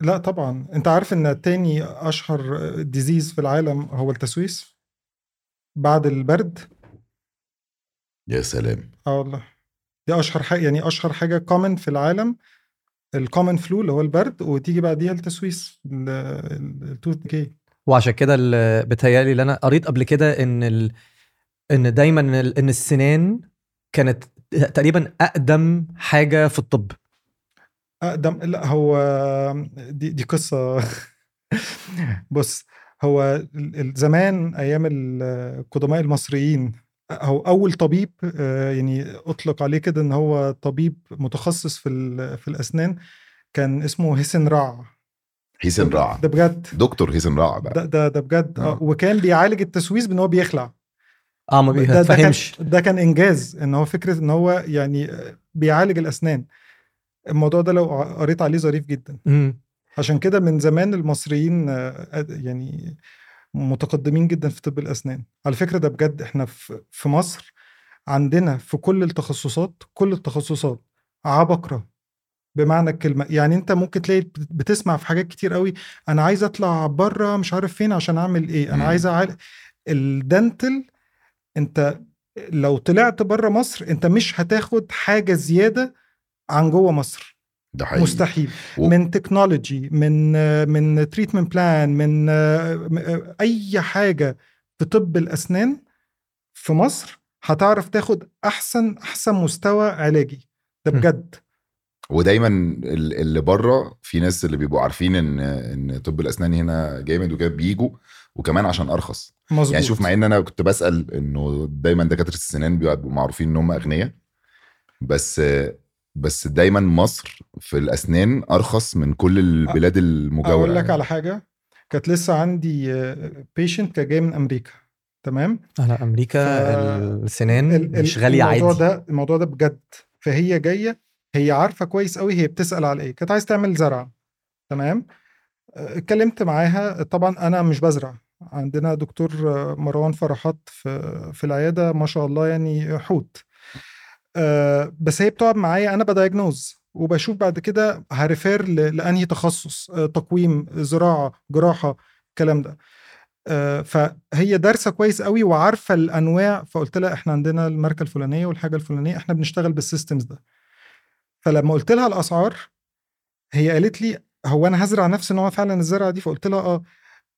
لا طبعا انت عارف ان تاني اشهر ديزيز في العالم هو التسويس بعد البرد
يا سلام
اه والله دي دي اشهر حاجه يعني اشهر حاجه كومن في العالم الكومن فلو اللي هو البرد وتيجي بعديها التسويس التوث جي
وعشان كده ال- بيتهيألي اللي انا قريت قبل كده ان ال... ان دايما ال- ان السنان كانت تقريبا اقدم حاجه في الطب
اقدم لا هو دي دي قصه بص هو ال- ال- زمان ايام ال- القدماء المصريين هو اول طبيب آه، يعني اطلق عليه كده ان هو طبيب متخصص في ال- في الاسنان كان اسمه هيسن رع
هيثم رعا
ده بجد
دكتور هيثم رعا بقى
ده ده ده بجد آه.
آه.
وكان بيعالج التسويس بان هو بيخلع
اه ما
ده, ده, كان
بيفهمش
ده كان انجاز ان هو فكره ان هو يعني بيعالج الاسنان الموضوع ده لو قريت عليه ظريف جدا
مم.
عشان كده من زمان المصريين آه، يعني متقدمين جدا في طب الاسنان على فكره ده بجد احنا في في مصر عندنا في كل التخصصات كل التخصصات عبقره بمعنى الكلمه يعني انت ممكن تلاقي بت- بتسمع في حاجات كتير قوي انا عايز اطلع بره مش عارف فين عشان اعمل ايه انا
مم.
عايز اعالج الدنتل انت لو طلعت بره مصر انت مش هتاخد حاجه زياده عن جوه مصر
ده حقيقي
مستحيل
و-
من تكنولوجي من من تريتمنت بلان من آه، اي حاجه في طب الاسنان في مصر هتعرف تاخد احسن احسن مستوى علاجي ده
م.
بجد
ودايما ال- اللي بره في ناس اللي بيبقوا عارفين ان ان طب الاسنان هنا جامد وكده بيجوا وكمان عشان ارخص
مظبوط
يعني شوف مع ان انا كنت بسال انه دايما دكاتره السنان بيبقوا معروفين ان هم اغنياء بس بس دايما مصر في الاسنان ارخص من كل البلاد المجاوره
اقول لك
يعني.
على حاجه كانت لسه عندي بيشنت كان جاي من امريكا تمام
على امريكا
ف-
السنان
ال- ال-
مش غاليه
الموضوع
عادي
ده الموضوع ده بجد فهي جايه هي عارفه كويس قوي هي بتسال على ايه كانت عايز تعمل زرع تمام آه، اتكلمت معاها طبعا انا مش بزرع عندنا دكتور آه، مروان فرحات في في العياده ما شاء الله يعني حوت آه، بس هي بتقعد معايا انا بدايجنوز وبشوف بعد كده هريفير ل- لانهي تخصص آه، تقويم زراعه جراحه الكلام ده آه، فهي دارسه كويس قوي وعارفه الانواع فقلت لها احنا عندنا الماركه الفلانيه والحاجه الفلانيه احنا بنشتغل بالسيستمز ده فلما قلت لها الاسعار هي قالت لي هو انا هزرع نفس نوع فعلا الزرعه دي فقلت لها اه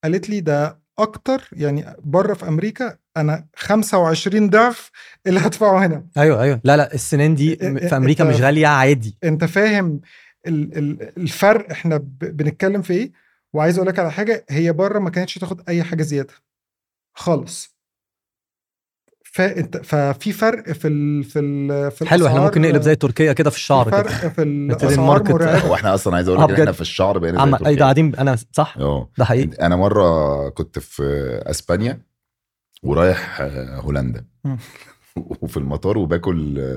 قالت لي ده اكتر يعني بره في امريكا انا 25 ضعف اللي هدفعه هنا
ايوه ايوه لا لا السنان دي م-
إ- إ-
في امريكا
إنت-
مش غاليه عادي
انت فاهم ال- ال- الفرق احنا ب- بنتكلم في ايه وعايز اقول لك على حاجه هي بره ما كانتش تاخد اي حاجه زياده خالص فانت ففي فرق في ال في ال في
حلو احنا
الأسعار،
ممكن نقلب زي
في
تركيا كده في الشعر
فرق
كده
في
نبتدي
الاسعار
الماركت.
مرعبه
هو احنا اصلا عايز اقول
آه
لك إن احنا
بجد.
في الشعر بقينا زي
عم... اي ده
تركيا
قاعدين انا صح
اه
ده حقيقي
إيه؟
انا مره كنت في اسبانيا ورايح آه، هولندا
مم.
وفي المطار وباكل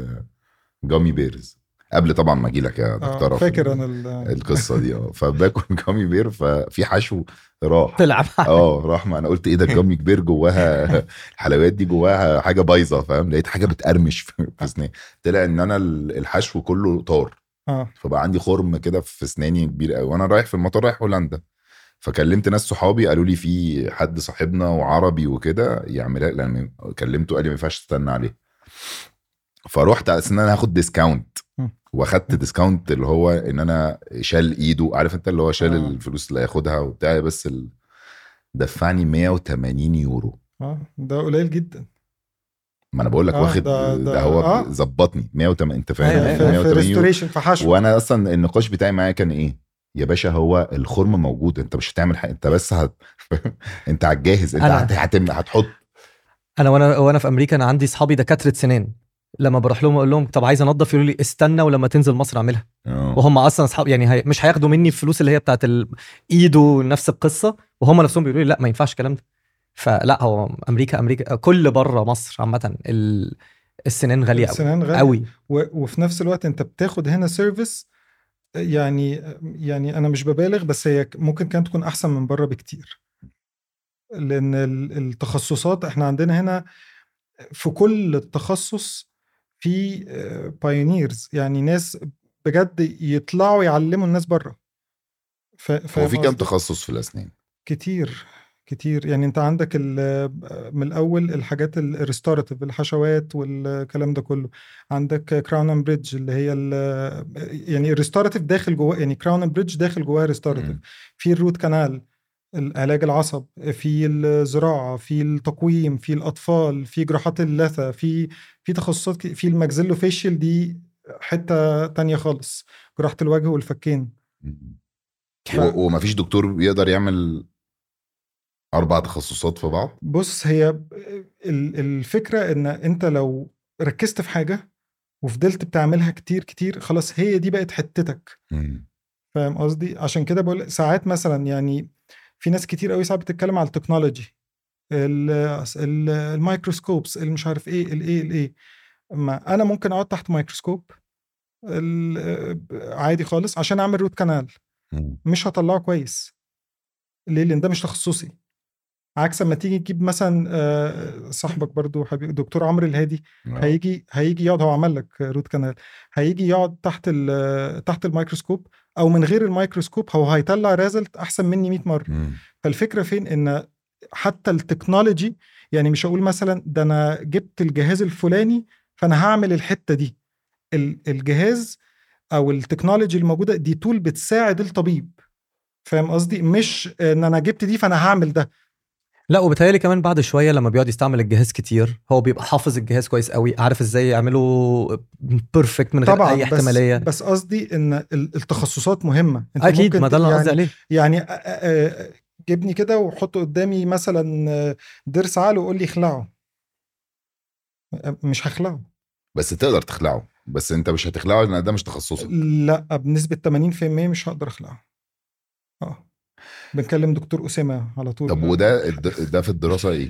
جامي بيرز قبل طبعا ما اجي لك يا
آه،
دكتوره في
فاكر
ال-
انا ال-
القصه دي اه فباكل جامي بير ففي حشو راح
تلعب
آه.
اه راح ما انا قلت ايه ده الجامي كبير جواها الحلويات دي جواها حاجه بايظه فاهم لقيت حاجه بتقرمش في
آه.
في اسناني طلع ان انا ال- الحشو كله طار
اه
فبقى عندي خرم كده في اسناني كبير قوي وانا رايح في المطار رايح هولندا فكلمت ناس صحابي قالوا لي في حد صاحبنا وعربي وكده يعملها لان كلمته قال لي ما ينفعش تستنى عليه فروحت على اساس ان انا هاخد ديسكاونت
مم.
واخدت ديسكاونت اللي هو ان انا شال ايده عارف انت اللي هو شال
آه.
الفلوس اللي هياخدها وبتاع بس ال... دفعني 180 يورو
اه ده قليل جدا
ما انا بقول لك
آه،
واخد
ده-
ده,
ده-
هو
آه.
ظبطني 180 انت فاهم
أيوة،
في-
أيوة.
يعني
في
180 يورو
ريستوريشن في حشو
وانا اصلا النقاش بتاعي معاه كان ايه يا باشا هو الخرم موجود انت مش هتعمل حاجه انت بس هت... انت هتجهز انت
أنا-
هت... هتم... هتحط
انا وانا وانا في امريكا انا عندي اصحابي دكاتره سنان لما بروح لهم اقول لهم طب عايز انضف يقولوا لي استنى ولما تنزل مصر اعملها
آه.
وهم اصلا اصحاب يعني هي مش هياخدوا مني الفلوس اللي هي بتاعت الايد ونفس القصه وهم نفسهم بيقولوا لي لا ما ينفعش الكلام ده فلا هو امريكا امريكا كل بره مصر عامه ال- السنان غاليه قوي
السنان غالية.
قوي
و- وفي نفس الوقت انت بتاخد هنا سيرفيس يعني يعني انا مش ببالغ بس هي ممكن كانت تكون احسن من بره بكتير لان ال- التخصصات احنا عندنا هنا في كل تخصص في بايونيرز يعني ناس بجد يطلعوا يعلموا الناس بره ف-
هو
فاهم
في كام
قصدي؟
تخصص في الاسنان
كتير كتير يعني انت عندك ال- من الاول الحاجات الريستوراتيف الحشوات والكلام ده كله عندك كراون اند بريدج اللي هي ال- يعني الريستوراتيف داخل جواه يعني كراون اند بريدج داخل جواها ريستوراتيف
مم.
في الروت كانال علاج العصب في الزراعه في التقويم في الاطفال في جراحات اللثه في في تخصصات ك- في الماكسيلوفيشيال دي حته تانية خالص جراحه الوجه والفكين
و- ومفيش دكتور يقدر يعمل اربع تخصصات في بعض
بص هي ب- ال- الفكره ان انت لو ركزت في حاجه وفضلت بتعملها كتير كتير خلاص هي دي بقت حتتك فاهم قصدي عشان كده بقول ساعات مثلا يعني في ناس كتير قوي ساعات بتتكلم على التكنولوجي ال- ال- الميكروسكوبس المش عارف ايه الايه الايه ما انا ممكن اقعد تحت ميكروسكوب ال- عادي خالص عشان اعمل روت كانال مش هطلعه كويس ليه لان ده مش تخصصي عكس ما تيجي تجيب مثلا آه، صاحبك برضو حبيب دكتور عمرو الهادي
آه.
هيجي هيجي يقعد هو عمل لك روت كانال هيجي يقعد تحت ال- تحت الميكروسكوب او من غير الميكروسكوب هو هيطلع ريزلت احسن مني 100 مره
مم.
فالفكره فين ان حتى التكنولوجي يعني مش هقول مثلا ده انا جبت الجهاز الفلاني فانا هعمل الحته دي ال- الجهاز او التكنولوجي الموجوده دي تول بتساعد الطبيب فاهم قصدي مش ان انا جبت دي فانا هعمل ده
لا وبتهيألي كمان بعد شويه لما بيقعد يستعمل الجهاز كتير هو بيبقى حافظ الجهاز كويس قوي عارف ازاي يعمله بيرفكت من غير
طبعا
اي
بس-
احتماليه
بس قصدي ان ال- التخصصات مهمه انت
اكيد
ممكن
ما ده اللي انا
يعني
قصدي عليه
يعني أ- أ- أ- جبني كده وحط قدامي مثلا ضرس عقل وقول لي اخلعه مش هخلعه
بس تقدر تخلعه بس انت مش هتخلعه لان ده مش تخصصك
لا بنسبة 80% مش هقدر اخلعه اه بنكلم دكتور أسامة على طول
طب وده الد- ده في الدراسه ايه؟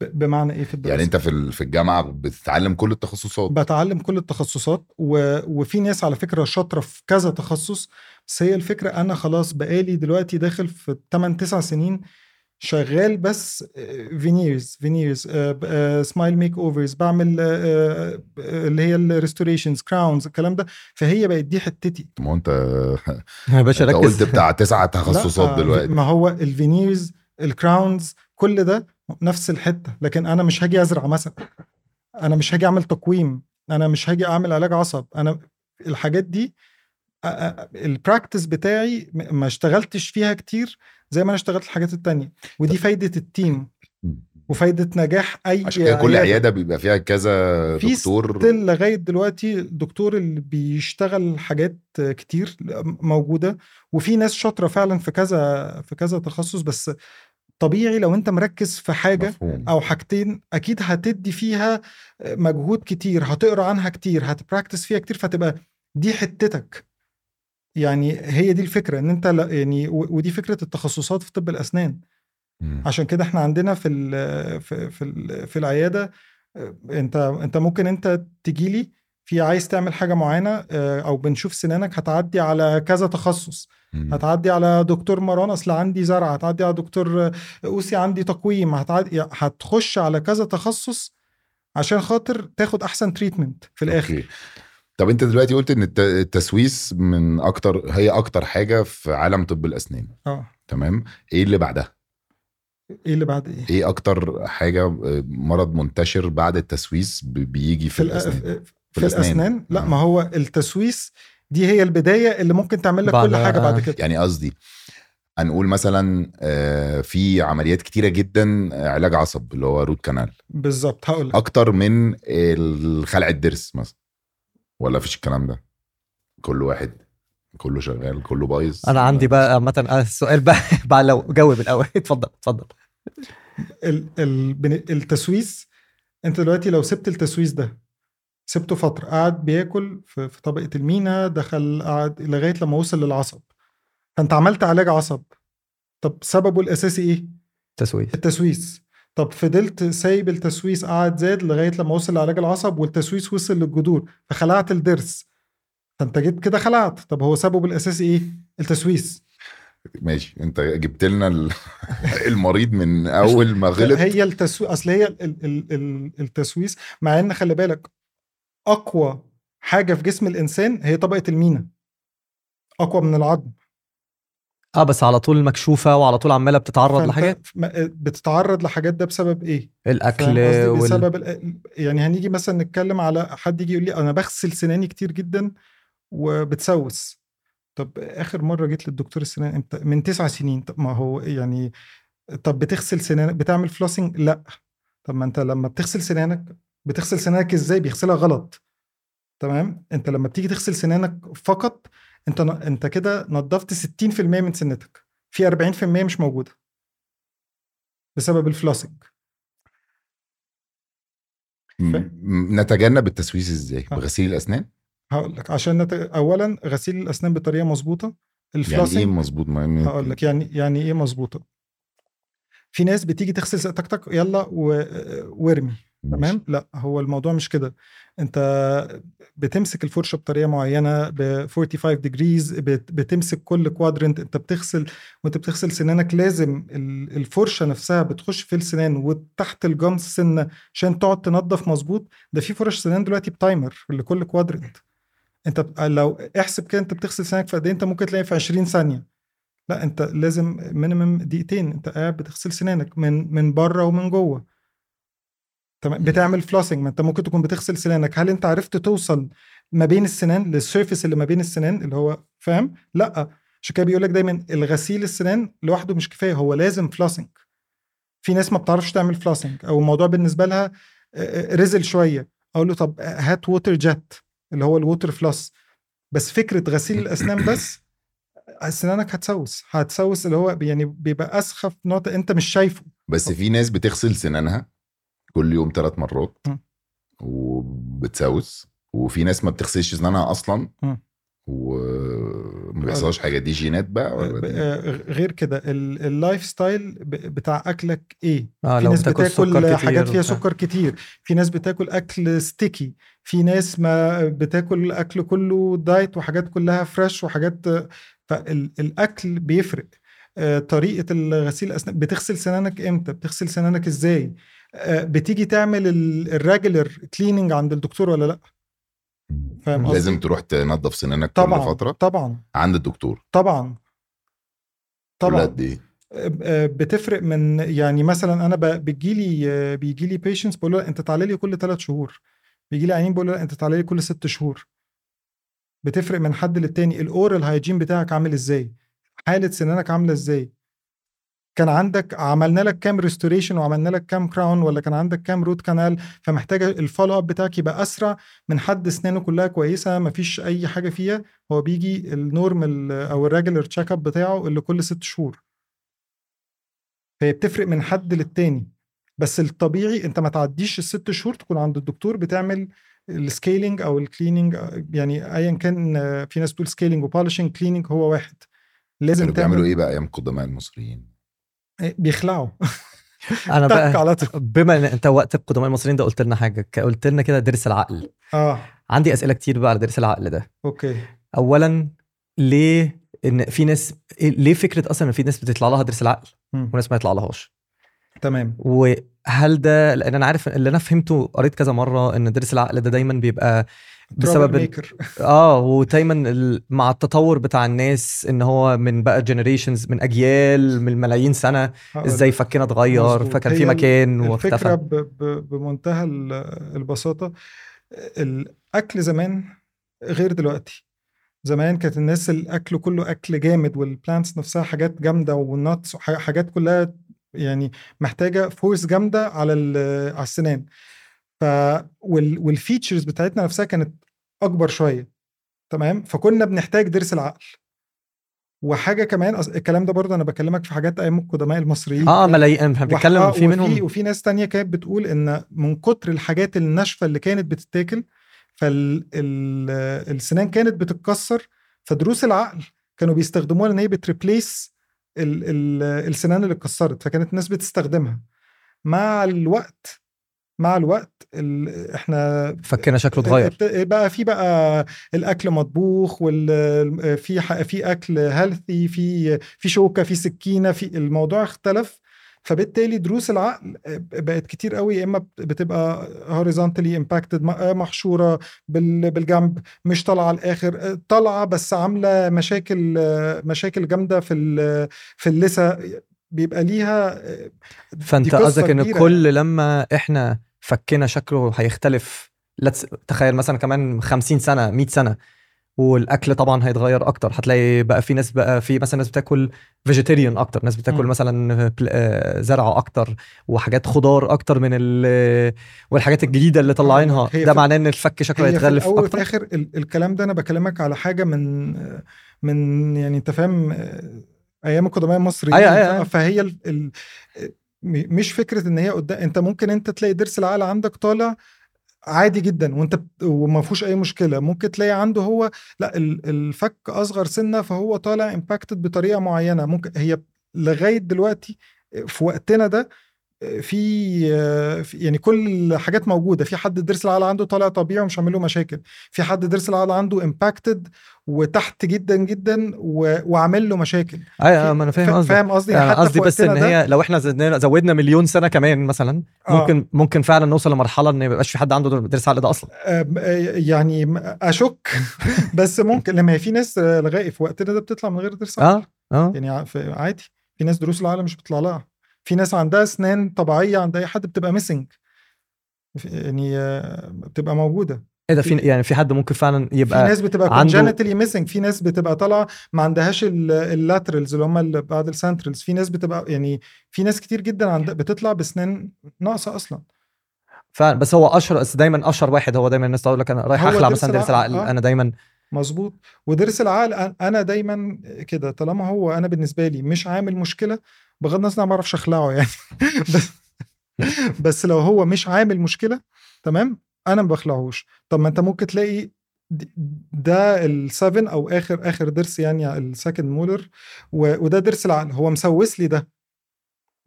ب- بمعنى ايه في الدراسة
يعني انت في ال- في الجامعه بتتعلم كل التخصصات
بتعلم كل التخصصات و... وفي ناس على فكرة شاطرة في كذا تخصص بس هي الفكرة أنا خلاص بقالي دلوقتي داخل في 8 9 سنين شغال بس آه، فينيرز فينيرز سمايل ميك اوفرز آه، بعمل آه، آه، اللي هي الريستوريشنز كراونز الكلام ده فهي بقت دي حتتي
ما هو انت
يا باشا
انت
ركز
قلت بتاع تسعة
لا،
تخصصات
آه،
دلوقتي
ما هو الفينيرز الكراونز كل ده نفس الحته لكن انا مش هاجي ازرع مثلا انا مش هاجي اعمل تقويم انا مش هاجي اعمل علاج عصب انا الحاجات دي البراكتس بتاعي م- ما اشتغلتش فيها كتير زي ما انا اشتغلت الحاجات التانية ودي فايده التيم وفايده نجاح اي
عشان كده كل عياده بيبقى فيها كذا
في
دكتور
ستيل لغايه دلوقتي الدكتور اللي بيشتغل حاجات كتير موجوده وفي ناس شاطره فعلا في كذا في كذا تخصص بس طبيعي لو انت مركز في حاجه
مفهوم
او حاجتين اكيد هتدي فيها مجهود كتير هتقرا عنها كتير هتبراكتس فيها كتير فتبقى دي حتتك يعني هي دي الفكره ان انت لا- يعني و- ودي فكره التخصصات في طب الاسنان
مم.
عشان كده احنا عندنا في ال في في, ال في العياده اه، انت انت ممكن انت تجي لي في عايز تعمل حاجه معينه اه، او بنشوف سنانك هتعدي على كذا تخصص
مم.
هتعدي على دكتور مران اصل عندي زرع هتعدي على دكتور اه، اوسي عندي تقويم هتعدي هتخش على كذا تخصص عشان خاطر تاخد احسن تريتمنت في الاخر
أوكي. طب انت دلوقتي قلت ان الت- التسويس من اكتر هي اكتر حاجه في عالم طب الاسنان
اه
تمام ايه اللي بعدها
ايه اللي بعد ايه
ايه اكتر حاجه آه، مرض منتشر بعد التسويس ب- بيجي في,
في, الأ-
الاسنان
في,
في
في
الأسنان.
الاسنان لا
آه.
ما هو التسويس دي هي البدايه اللي ممكن تعمل لك
بعد-
كل حاجه بعد
آه.
كده
يعني قصدي هنقول مثلا آه، في عمليات كتيره جدا آه، علاج عصب اللي هو روت كانال
بالظبط هقول لك
اكتر من خلع الضرس مثلا ولا فيش الكلام ده كل واحد كله شغال كله بايظ
انا عندي بقى عامه السؤال بقى بقى لو جاوب الاول اتفضل اتفضل
ال- ال- بن- التسويس انت دلوقتي لو سبت التسويس ده سبته فتره قعد بياكل في في طبقه المينا دخل قعد لغايه لما وصل للعصب فانت عملت علاج عصب طب سببه الاساسي ايه
تسويق
التسويس طب فضلت سايب التسويس قعد زاد لغايه لما وصل لعلاج العصب والتسويس وصل للجذور فخلعت الضرس فانت جيت كده خلعت طب هو سببه الاساسي ايه التسويس
ماشي انت جبت لنا ال- المريض من اول ما غلط
هي التسويس اصل هي ال... ال... ال... ال- التسويس مع ان خلي بالك اقوى حاجه في جسم الانسان هي طبقه المينا اقوى من العظم
اه بس على طول مكشوفه وعلى طول عماله بتتعرض
فأنت
لحاجات
م- بتتعرض لحاجات ده بسبب ايه؟
الاكل
فاهم قصدي؟
وال...
بسبب ال- يعني هنيجي مثلا نتكلم على حد يجي يقول لي انا بغسل سناني كتير جدا وبتسوس طب اخر مره جيت للدكتور السنان امتى من تسع سنين طب ما هو يعني طب بتغسل سنانك بتعمل فلوسنج لا طب ما انت لما بتغسل سنانك بتغسل سنانك ازاي بيغسلها غلط تمام انت لما بتيجي تغسل سنانك فقط انت انت كده نظفت 60% من سنتك في 40% مش موجوده بسبب الفلوسنج
م- م- نتجنب التسويس ازاي
آه.
بغسيل الاسنان
هقول لك عشان نت... اولا غسيل الاسنان بطريقه مظبوطه
يعني ايه
الفلوسنج
مظبوط ما
هقول لك يعني يعني ايه مظبوطه في ناس بتيجي تغسل س- تك تك يلا و... وارمي
ماشي.
تمام لا هو الموضوع مش كده انت بتمسك الفرشه بطريقه معينه ب 45 ديجريز بت... بتمسك كل كوادرنت انت بتغسل وانت بتغسل سنانك لازم ال- الفرشه نفسها بتخش في السنان وتحت الجمس سنه عشان تقعد تنظف مظبوط ده في فرش سنان دلوقتي بتايمر لكل كوادرنت انت ب- لو احسب كده انت بتغسل سنانك في قد ايه انت ممكن تلاقي في 20 ثانيه لا انت لازم مينيمم دقيقتين انت قاعد بتغسل سنانك من من بره ومن جوه تمام بتعمل فلوسنج ما انت ممكن تكون بتغسل سنانك هل انت عرفت توصل ما بين السنان للسيرفيس اللي ما بين السنان اللي هو فاهم لا عشان كده بيقول لك دايما الغسيل السنان لوحده مش كفايه هو لازم فلوسنج في ناس ما بتعرفش تعمل فلوسنج او الموضوع بالنسبه لها آه، آه، رزل شويه اقول له طب آه، هات ووتر جت اللي هو الووتر فلوس بس فكره غسيل الاسنان بس اسنانك هتسوس هتسوس اللي هو يعني بيبقى اسخف نوع انت مش شايفه
بس في ناس بتغسل سنانها كل يوم ثلاث مرات
مم.
وبتسوس وفي ناس ما بتغسلش سنانها اصلا
مم.
وما بيحصلهاش حاجه دي جينات بقى ولا
ب-
دي-
آه، غير كده ال- اللايف ستايل ب- بتاع اكلك ايه
اه
في
لو
ناس
بتاكل سكر
بتاكل
كتير
حاجات فيها
وبتاع.
سكر كتير في ناس بتاكل اكل ستيكي في ناس ما بتاكل اكل كله دايت وحاجات كلها فريش وحاجات فالاكل بيفرق آه، طريقه الغسيل الاسنان بتغسل سنانك امتى بتغسل سنانك ازاي آه، بتيجي تعمل الريجولر كليننج عند الدكتور ولا لا فاهم قصدي؟
لازم تروح تنظف سنانك كل
طبعا
فتره
طبعا
عند الدكتور
طبعا
كل
طبعا
قد ايه
بتفرق من يعني مثلا انا ب- بيجيلي بيجيلي بيشنس بقول له انت تعالى لي كل ثلاث شهور بيجيلي عيانين بقول له انت تعالى لي كل ست شهور بتفرق من حد للتاني الاورال هايجين بتاعك عامل ازاي حاله سنانك عامله ازاي كان عندك عملنا لك كام ريستوريشن وعملنا لك كام كراون ولا كان عندك كام روت كانال فمحتاجه الفولو اب بتاعك يبقى اسرع من حد اسنانه كلها كويسه مفيش اي حاجه فيها هو بيجي النورمال او الريجولر تشيك اب بتاعه اللي كل ست شهور فهي بتفرق من حد للتاني بس الطبيعي انت ما تعديش الست شهور تكون عند الدكتور بتعمل السكيلينج او الكليننج يعني ايا كان آه، في ناس بتقول سكيلينج وبولشنج كليننج هو واحد لازم
كانوا بيعملوا إيه؟
تعمل
ايه بقى ايام قدماء المصريين
بيخلعوا
انا
تك
بقى
على طول
بما ان انت وقت القدماء المصريين ده قلت لنا حاجه ك- قلت لنا كده درس العقل
اه
عندي اسئله كتير بقى على درس العقل ده
اوكي
اولا ليه ان في ناس إيه، ليه فكره اصلا ان في ناس بتطلع لها درس العقل
مم.
وناس ما يطلع لهاش
تمام
وهل ده لان انا عارف اللي انا فهمته قريت كذا مره ان درس العقل ده دايما بيبقى بسبب ال-
ميكر
اه ودايما ال- مع التطور بتاع الناس ان هو من بقى جنريشنز من اجيال من ملايين سنه ازاي فكنا اتغير
آه، مظبوط.
فكان
هي
في
ال-
مكان
الفكره
واختفى
ب... ب... بمنتهى ال- البساطه الاكل زمان غير دلوقتي زمان كانت الناس الاكل كله اكل جامد والبلانتس نفسها حاجات جامده والناتس وح- حاجات كلها يعني محتاجه فورس جامده على ال- على السنان ف وال... والفيتشرز بتاعتنا نفسها كانت اكبر شويه تمام فكنا بنحتاج ضرس العقل وحاجه كمان أص- الكلام ده برضه انا بكلمك في حاجات ايام القدماء المصريين
اه ملايين احنا
وح-
بنتكلم
آه،
في
وفي
منهم
وفي ناس تانية كانت بتقول ان من كتر الحاجات الناشفه اللي كانت بتتاكل فالسنان كانت بتتكسر فدروس العقل كانوا بيستخدموها ان هي بتريبليس ال ال السنان اللي اتكسرت فكانت الناس بتستخدمها مع الوقت مع الوقت ال احنا
فكنا شكله اتغير
ات- بقى في بقى الاكل مطبوخ وال في ح- في اكل هيلثي في في شوكه في سكينه في الموضوع اختلف فبالتالي دروس العقل بقت كتير قوي يا اما بتبقى هوريزونتالي امباكتد محشوره بال- بالجنب مش طالعه على الاخر طالعه بس عامله مشاكل مشاكل جامده في ال- في اللثه بيبقى ليها
فانت
دي قصة
قصدك ان
كبيرة. يعني.
الكل لما احنا فكنا شكله هيختلف لا تس- تخيل مثلا كمان 50 سنه 100 سنه والاكل طبعا هيتغير اكتر هتلاقي بقى في ناس بقى في مثلا ناس بتاكل فيجيتيريان اكتر ناس بتاكل
مم.
مثلا بل- آه، زرع اكتر وحاجات خضار اكتر من ال والحاجات الجديده اللي طالعينها
هي
ده
في-
معناه ان الفك شكله
هي في
هيتغلف
الاول
اكتر
وفي الاخر ال- الكلام ده انا بكلمك على حاجه من من يعني انت فاهم ايام القدماء المصريين
أيوة، أيوة، أيوة.
فهي ال ال م- مش فكره ان هي قدام انت ممكن انت تلاقي ضرس العقل عندك طالع عادي جدا وانت بت- وما فيهوش اي مشكله ممكن تلاقي عنده هو لا ال- الفك اصغر سنه فهو طالع امباكتد بطريقه معينه ممكن هي لغايه دلوقتي في وقتنا ده في في- يعني كل الحاجات موجوده في حد ضرس العقل عنده طالع طبيعي ومش عامل له مشاكل في حد ضرس العقل عنده امباكتد وتحت جدا جدا و- وعامل له مشاكل
ايوه أيوة، ما انا فاهم
فا-
قصدي
فاهم قصدي
انا
حتى في
قصدي بس ان
وقتنا ده-
هي لو احنا زدنا زودنا مليون سنه كمان مثلا
آه.
ممكن آه. ممكن فعلا نوصل لمرحله ان ما يبقاش في حد عنده درس عقل ده اصلا
أم- آه، يعني م- اشك بس ممكن لما هي في ناس لغايه في وقتنا ده بتطلع من غير ضرس عقل.
اه اه
يعني ع- في- عادي في ناس دروس العقل مش بتطلع لها في ناس عندها اسنان طبيعيه عند اي حد بتبقى ميسنج يعني آه، بتبقى موجوده
ايه ده في يعني في حد ممكن فعلا
إيه. في
يبقى
ناس بتبقى
عنده-
كونجنتالي ميسنج في ناس بتبقى طالعه ما عندهاش اللاترالز اللي هم اللي بعد السنترالز في ناس بتبقى يعني في ناس كتير جدا عند بتطلع بسنان ناقصه اصلا
فعلا بس هو اشهر بس دايما اشهر واحد هو دايما الناس تقول لك انا رايح
هو
اخلع
درس
مثلا درس
العقل،
العقل
آه.
انا دايما
مظبوط وضرس العقل أنا- انا دايما كده طالما هو انا بالنسبه لي مش عامل مشكله بغض النظر أنا ما بعرفش اخلعه يعني بس, بس لو هو مش عامل مشكله تمام انا ما بخلعهوش طب ما انت ممكن تلاقي د- ده السفن او اخر اخر ضرس يعني السكند مولر و- وده ضرس العقل هو مسوس لي ده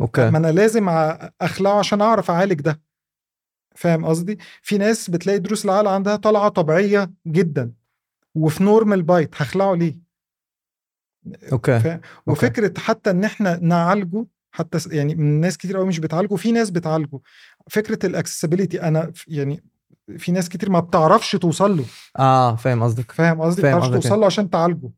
اوكي
ما انا لازم ع- اخلعه عشان اعرف اعالج ده فاهم قصدي في ناس بتلاقي دروس العقل عندها طالعه طبيعيه جدا وفي نورمال بايت هخلعه ليه
اوكي
ف- وفكره حتى ان احنا نعالجه حتى س- يعني من ناس كتير قوي مش بتعالجه في ناس بتعالجه فكره الاكسسبيليتي انا ف- يعني في ناس كتير ما بتعرفش توصل له
اه فاهم قصدك
فاهم قصدي ما
فاهم
بتعرفش
قصدك
توصل له عشان تعالجه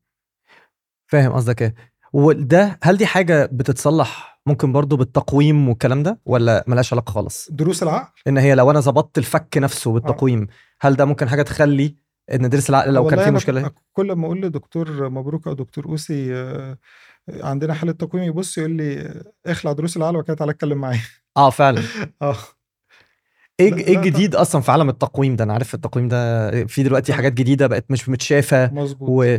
فاهم قصدك ايه وده هل دي حاجه بتتصلح ممكن برضو بالتقويم والكلام ده ولا ملهاش علاقه خالص
دروس العقل
ان هي لو انا ظبطت الفك نفسه بالتقويم هل ده ممكن حاجه تخلي ان درس العقل لو كان
آه. والله
في
أنا
مشكله
ك- كل ما اقول لدكتور مبروك او دكتور اوسي آه، عندنا حاله تقويم يبص يقول لي آه، اخلع دروس العقل وكده تعالى اتكلم معايا
اه فعلا
اه
ايه
لا-
ايه
لا
الجديد اصلا في عالم التقويم ده انا عارف التقويم ده في دلوقتي حاجات جديده بقت مش متشافه
مظبوط
و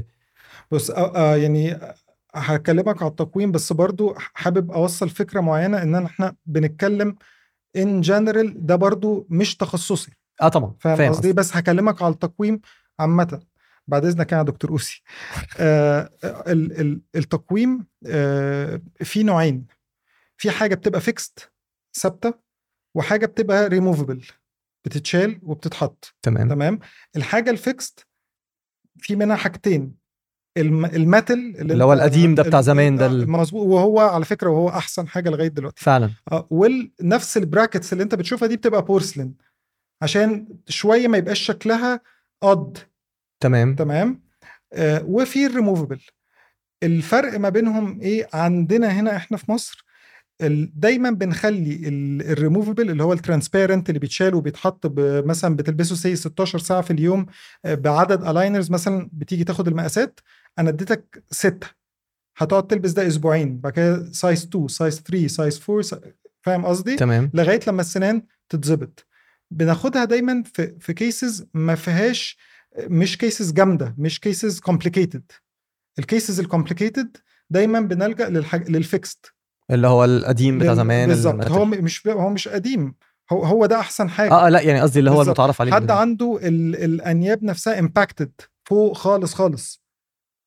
بص آه آه يعني آه، هكلمك على التقويم بس برضو حابب اوصل فكره معينه ان أنا- احنا بنتكلم ان جنرال ده برضو مش تخصصي
اه طبعا
فاهم قصدي إيه؟
قصدك.
بس هكلمك على التقويم عامه بعد اذنك يا دكتور اوسي آه ال- ال- التقويم آه في نوعين في حاجه بتبقى فيكست ثابته وحاجه بتبقى ريموفبل بتتشال وبتتحط
تمام
تمام الحاجه الفيكست في منها حاجتين الم... المتل
اللي هو
انت-
القديم ده بتاع
ال-
زمان ده ال-
آه، مظبوط وهو على فكره وهو احسن حاجه لغايه دلوقتي
فعلا
آه، ونفس البراكتس اللي انت بتشوفها دي بتبقى بورسلين عشان شويه ما يبقاش شكلها قد
تمام
تمام آه، وفي الريموفبل الفرق ما بينهم ايه عندنا هنا احنا في مصر ال- دايما بنخلي الريموفبل اللي هو الترانسبيرنت اللي بيتشال وبيتحط ب- مثلا بتلبسه سي 16 ساعه في اليوم آه، بعدد الاينرز مثلا بتيجي تاخد المقاسات انا اديتك سته هتقعد تلبس ده اسبوعين بعد كده سايز 2 سايز 3 سايز 4 سا- فاهم قصدي؟
تمام
لغايه لما السنان تتظبط بناخدها دايما في في كيسز ما فيهاش مش كيسز جامده مش كيسز كومبليكيتد الكيسز الكومبليكيتد دايما بنلجا للحاج... للفيكست
اللي هو القديم بتاع
لل-
زمان
بالظبط
المقاتل.
هو م- مش هو مش قديم هو هو ده احسن حاجه
اه آه، لا يعني قصدي اللي هو
بالظبط.
المتعارف عليه
حد
بالظبط.
عنده ال... الانياب نفسها امباكتد فوق خالص خالص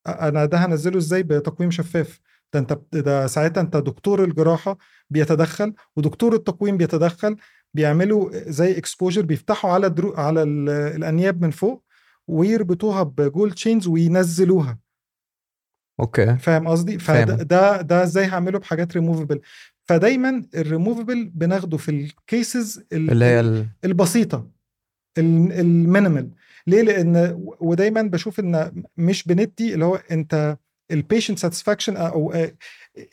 أ- انا ده هنزله ازاي بتقويم شفاف ده انت بت- ده ساعتها انت دكتور الجراحه بيتدخل ودكتور التقويم بيتدخل بيعملوا زي اكسبوجر بيفتحوا على درو... على ال... الانياب من فوق ويربطوها بجولد تشينز وينزلوها
اوكي
فاهم قصدي
فاهم.
فده ده ده ازاي هعمله بحاجات ريموفبل فدايما الريموفبل بناخده في الكيسز
اللي هي ال...
البسيطه ال- المينيمال ليه لان ودايما بشوف ان مش بندي اللي هو انت البيشنت ساتسفاكشن او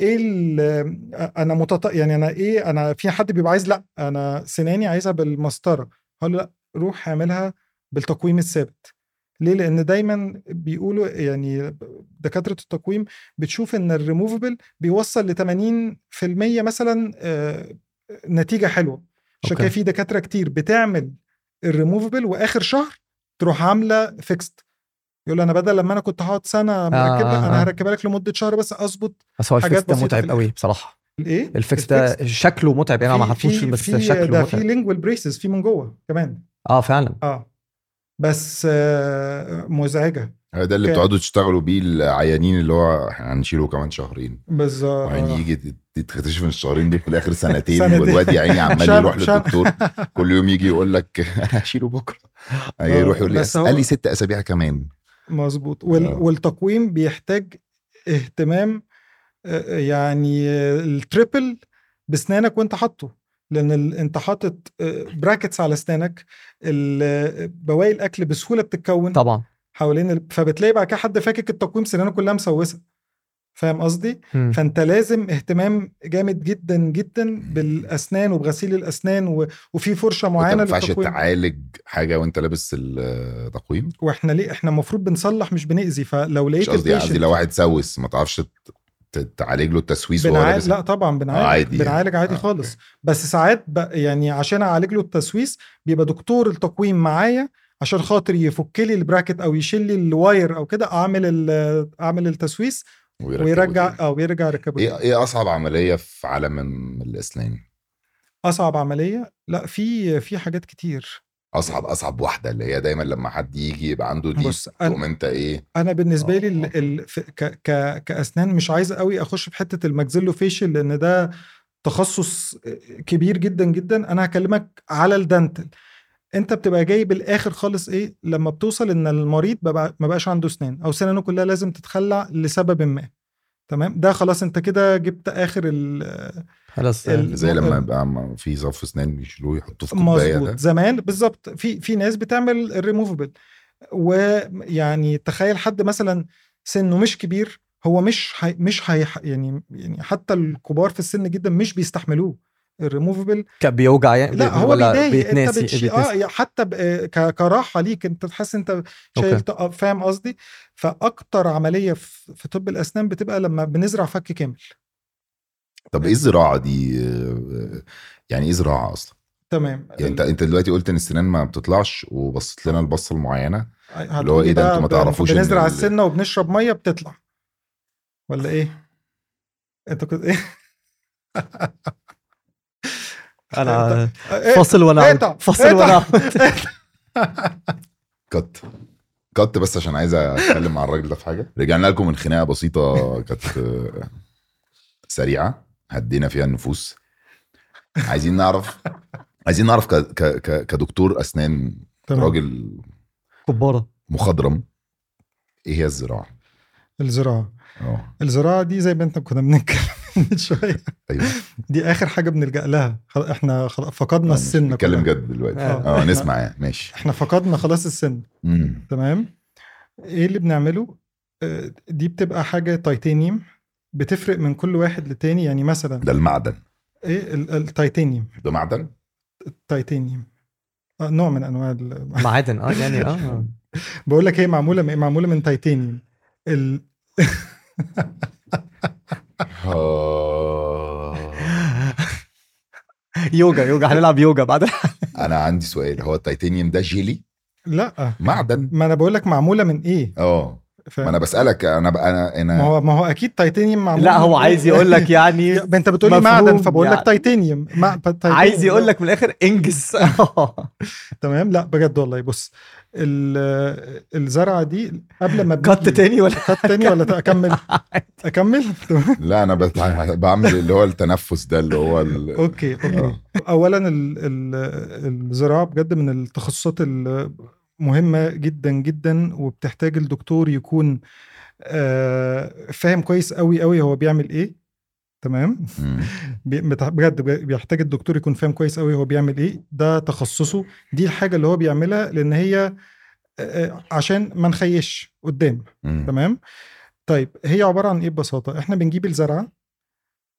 ايه ال- انا متط... يعني انا ايه انا في حد بيبقى عايز لا انا سناني عايزها بالمسطره هقول له لا روح اعملها بالتقويم الثابت ليه لان دايما بيقولوا يعني دكاتره التقويم بتشوف ان الريموفبل بيوصل ل 80% مثلا آه، نتيجه حلوه عشان
أوكي.
كده في دكاتره كتير بتعمل الريموفبل واخر شهر تروح عامله فيكست يقول انا بدل لما انا كنت هقعد سنه مركبها
آه، آه.
انا هركبها لك لمده شهر بس اظبط
بس هو الفيكس
حاجات
ده
بسيطة في
متعب
الآخر.
قوي بصراحه
الايه
الفيكس ده شكله متعب يعني انا ما حطوش بس شكله
ده في
متعب
لينجوال بريسز في من جوه كمان
اه فعلا
اه بس آه، مزعجه
ده اللي
أوكي.
بتقعدوا تشتغلوا بيه العيانين اللي هو احنا هنشيله كمان شهرين
بالظبط
وبعدين يجي تت- تكتشف ان الشهرين دول في الاخر سنتين
سنتين.
والواد يا عيني عمال
شهر-
يروح
شهر.
للدكتور كل يوم يجي يقول لك انا هشيله بكره يروح يقول لي
بس هو-
قال لي ست اسابيع كمان
مظبوط وال...
آه.
والتقويم بيحتاج اهتمام آه، يعني آه، التريبل بسنانك وانت حاطه لان ال... انت حاطط براكتس على اسنانك ال- آه، بواقي الاكل بسهوله بتتكون
طبعا
حوالين ال... فبتلاقي بعد كده حد فاكك التقويم سنانه كلها مسوسه فاهم قصدي؟
مم.
فانت لازم اهتمام جامد جدا جدا بالاسنان وبغسيل الاسنان و... وفي فرشه
وانت
معينه
ما ينفعش
للتقويم.
تعالج حاجه وانت لابس التقويم
واحنا ليه احنا المفروض بنصلح مش بنأذي فلو لقيت
مش قصدي
البيشنت-
قصدي لو واحد سوس ما تعرفش ت- ت- تعالج له التسويس وهو
بنعالج
لابس
لا طبعا بنعالج
آه، عادي
عادي
يعني.
بنعالج عادي
آه،
آه خالص بس ساعات ب... يعني عشان اعالج له التسويس بيبقى دكتور التقويم معايا عشان خاطر يفك لي البراكت او يشيل لي الواير او كده اعمل ال- اعمل التسويس
ويركبه
ويرجع
تاني.
او يرجع ركبه
ايه ايه اصعب عمليه في عالم الاسنان
اصعب عمليه لا في في حاجات كتير
اصعب اصعب واحده اللي هي دايما لما حد يجي يبقى عنده دي
بص
تقوم
انا
انت ايه
انا بالنسبه لي ال...
آه.
ال... في- ك... ك... كاسنان مش عايز قوي اخش في حته الماكسيلو فيشل لان ده تخصص كبير جدا جدا انا هكلمك على الدنتل انت بتبقى جاي بالاخر خالص ايه لما بتوصل ان المريض ببقى ما بقاش عنده اسنان او سنانه كلها لازم تتخلع لسبب ما تمام ده خلاص انت كده جبت اخر ال-
خلاص
ال-
زي لما يبقى م- في ظرف اسنان بيشيلوه يحطوه في كوبايه ده
مظبوط زمان بالظبط في في ناس بتعمل الريموفبل ويعني تخيل حد مثلا سنه مش كبير هو مش حي مش حي يعني يعني حتى الكبار في السن جدا مش بيستحملوه الريموفبل
كان بيوجع يعني
لا هو
ولا
بيضايق انت
بيتناسي
بتشي... اه
بيتناسي.
يعني حتى ب... ك... كراحه ليك انت تحس انت شايل ط- آه، فاهم قصدي فاكتر عمليه في... في طب الاسنان بتبقى لما بنزرع فك كامل
طب ايه الزراعه دي آه، يعني ايه زراعه اصلا
تمام
يعني انت انت دلوقتي قلت ان السنان ما بتطلعش وبصيت لنا البصه المعينه اللي هو ايه ده،
هتقولي
انتوا ما
بقى
تعرفوش ان
بنزرع
ال-
السنه وبنشرب ميه بتطلع ولا ايه انت كنت ايه
انا
إيه؟
فاصل وانا
إيه
عود.
ده؟ إيه
فاصل
ده؟
وانا عود.
كت كت بس عشان عايز اتكلم مع الراجل ده في حاجه رجعنا لكم من خناقه بسيطه كانت آه، سريعه هدينا فيها النفوس عايزين نعرف عايزين نعرف ك... ك... ك... كدكتور اسنان
تمام.
راجل
كباره
مخضرم ايه هي الزراعه
الزراعه
اه
الزراعه دي زي ما انت كنا بنتكلم من شويه
ايوه
دي اخر حاجه بنلجا لها خلاص احنا خلاص فقدنا السن
نتكلم
كلها.
جد دلوقتي
آه.
اه نسمع يعني ماشي
احنا فقدنا خلاص السن
مم.
تمام ايه اللي بنعمله آه، دي بتبقى حاجه تيتانيوم بتفرق من كل واحد للتاني يعني مثلا
ده المعدن
ايه ال- التيتانيوم
ده معدن
التيتانيوم آه، نوع من انواع ال-
معادن اه يعني اه
بقول لك هي معموله من إيه؟ معموله من تيتانيوم ال...
آه.
يوجا يوجا هنلعب يوجا بعدين
انا عندي سؤال هو التيتانيوم ده جيلي
لا
معدن
ما انا بقول لك معموله من ايه
اه
ف...
ما انا بسالك انا بقى انا
ما
انا
هو ما هو اكيد تيتانيوم معمول
لا
من
هو
إيه؟
عايز يقول لك يعني
يا- انت بتقولي
مفهوم
معدن فبقول لك
يعني.
تيتانيوم مع... تيتانيوم.
عايز يقول لك من الاخر انجز
تمام لا بجد والله بص ال- الزرعه دي قبل ما
كت
بنيجي-
تاني ولا
كات تاني ولا اكمل اكمل تمام.
لا انا بت- بعمل اللي هو التنفس ده اللي هو ال...
اوكي اوكي
آه.
اولا ال- ال- الزراعه بجد من التخصصات المهمه جدا جدا وبتحتاج الدكتور يكون آه، فاهم كويس قوي قوي هو بيعمل ايه تمام
مم.
بي- بتع- بجد بجد بيحتاج الدكتور يكون فاهم كويس قوي هو بيعمل ايه ده تخصصه دي الحاجه اللي هو بيعملها لان هي آه، آه، عشان ما نخيش قدام
مم.
تمام طيب هي عباره عن ايه ببساطه احنا بنجيب الزرعه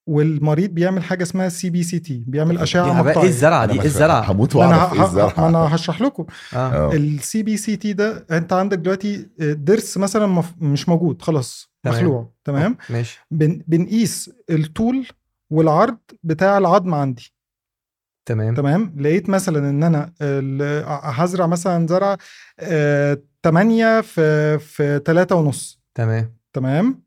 والمريض بيعمل حاجه اسمها سي بي سي تي بيعمل اشعه
يا بقى ايه
مقطعيه
الزرعه
أنا
دي
بس
ايه الزرعه
هموت
ما
واعرف ايه
انا ه- ه- ما
الزرعه
انا هشرح لكم
آه.
آه.
السي بي سي تي ده انت عندك دلوقتي ضرس مثلا مف- مش موجود خلاص
تمام.
مخلوع تمام
ماشي
بن بنقيس الطول والعرض بتاع العظم عندي
تمام
تمام لقيت مثلا ان انا ال- هزرع مثلا زرع 8 في في 3 ونص
تمام
تمام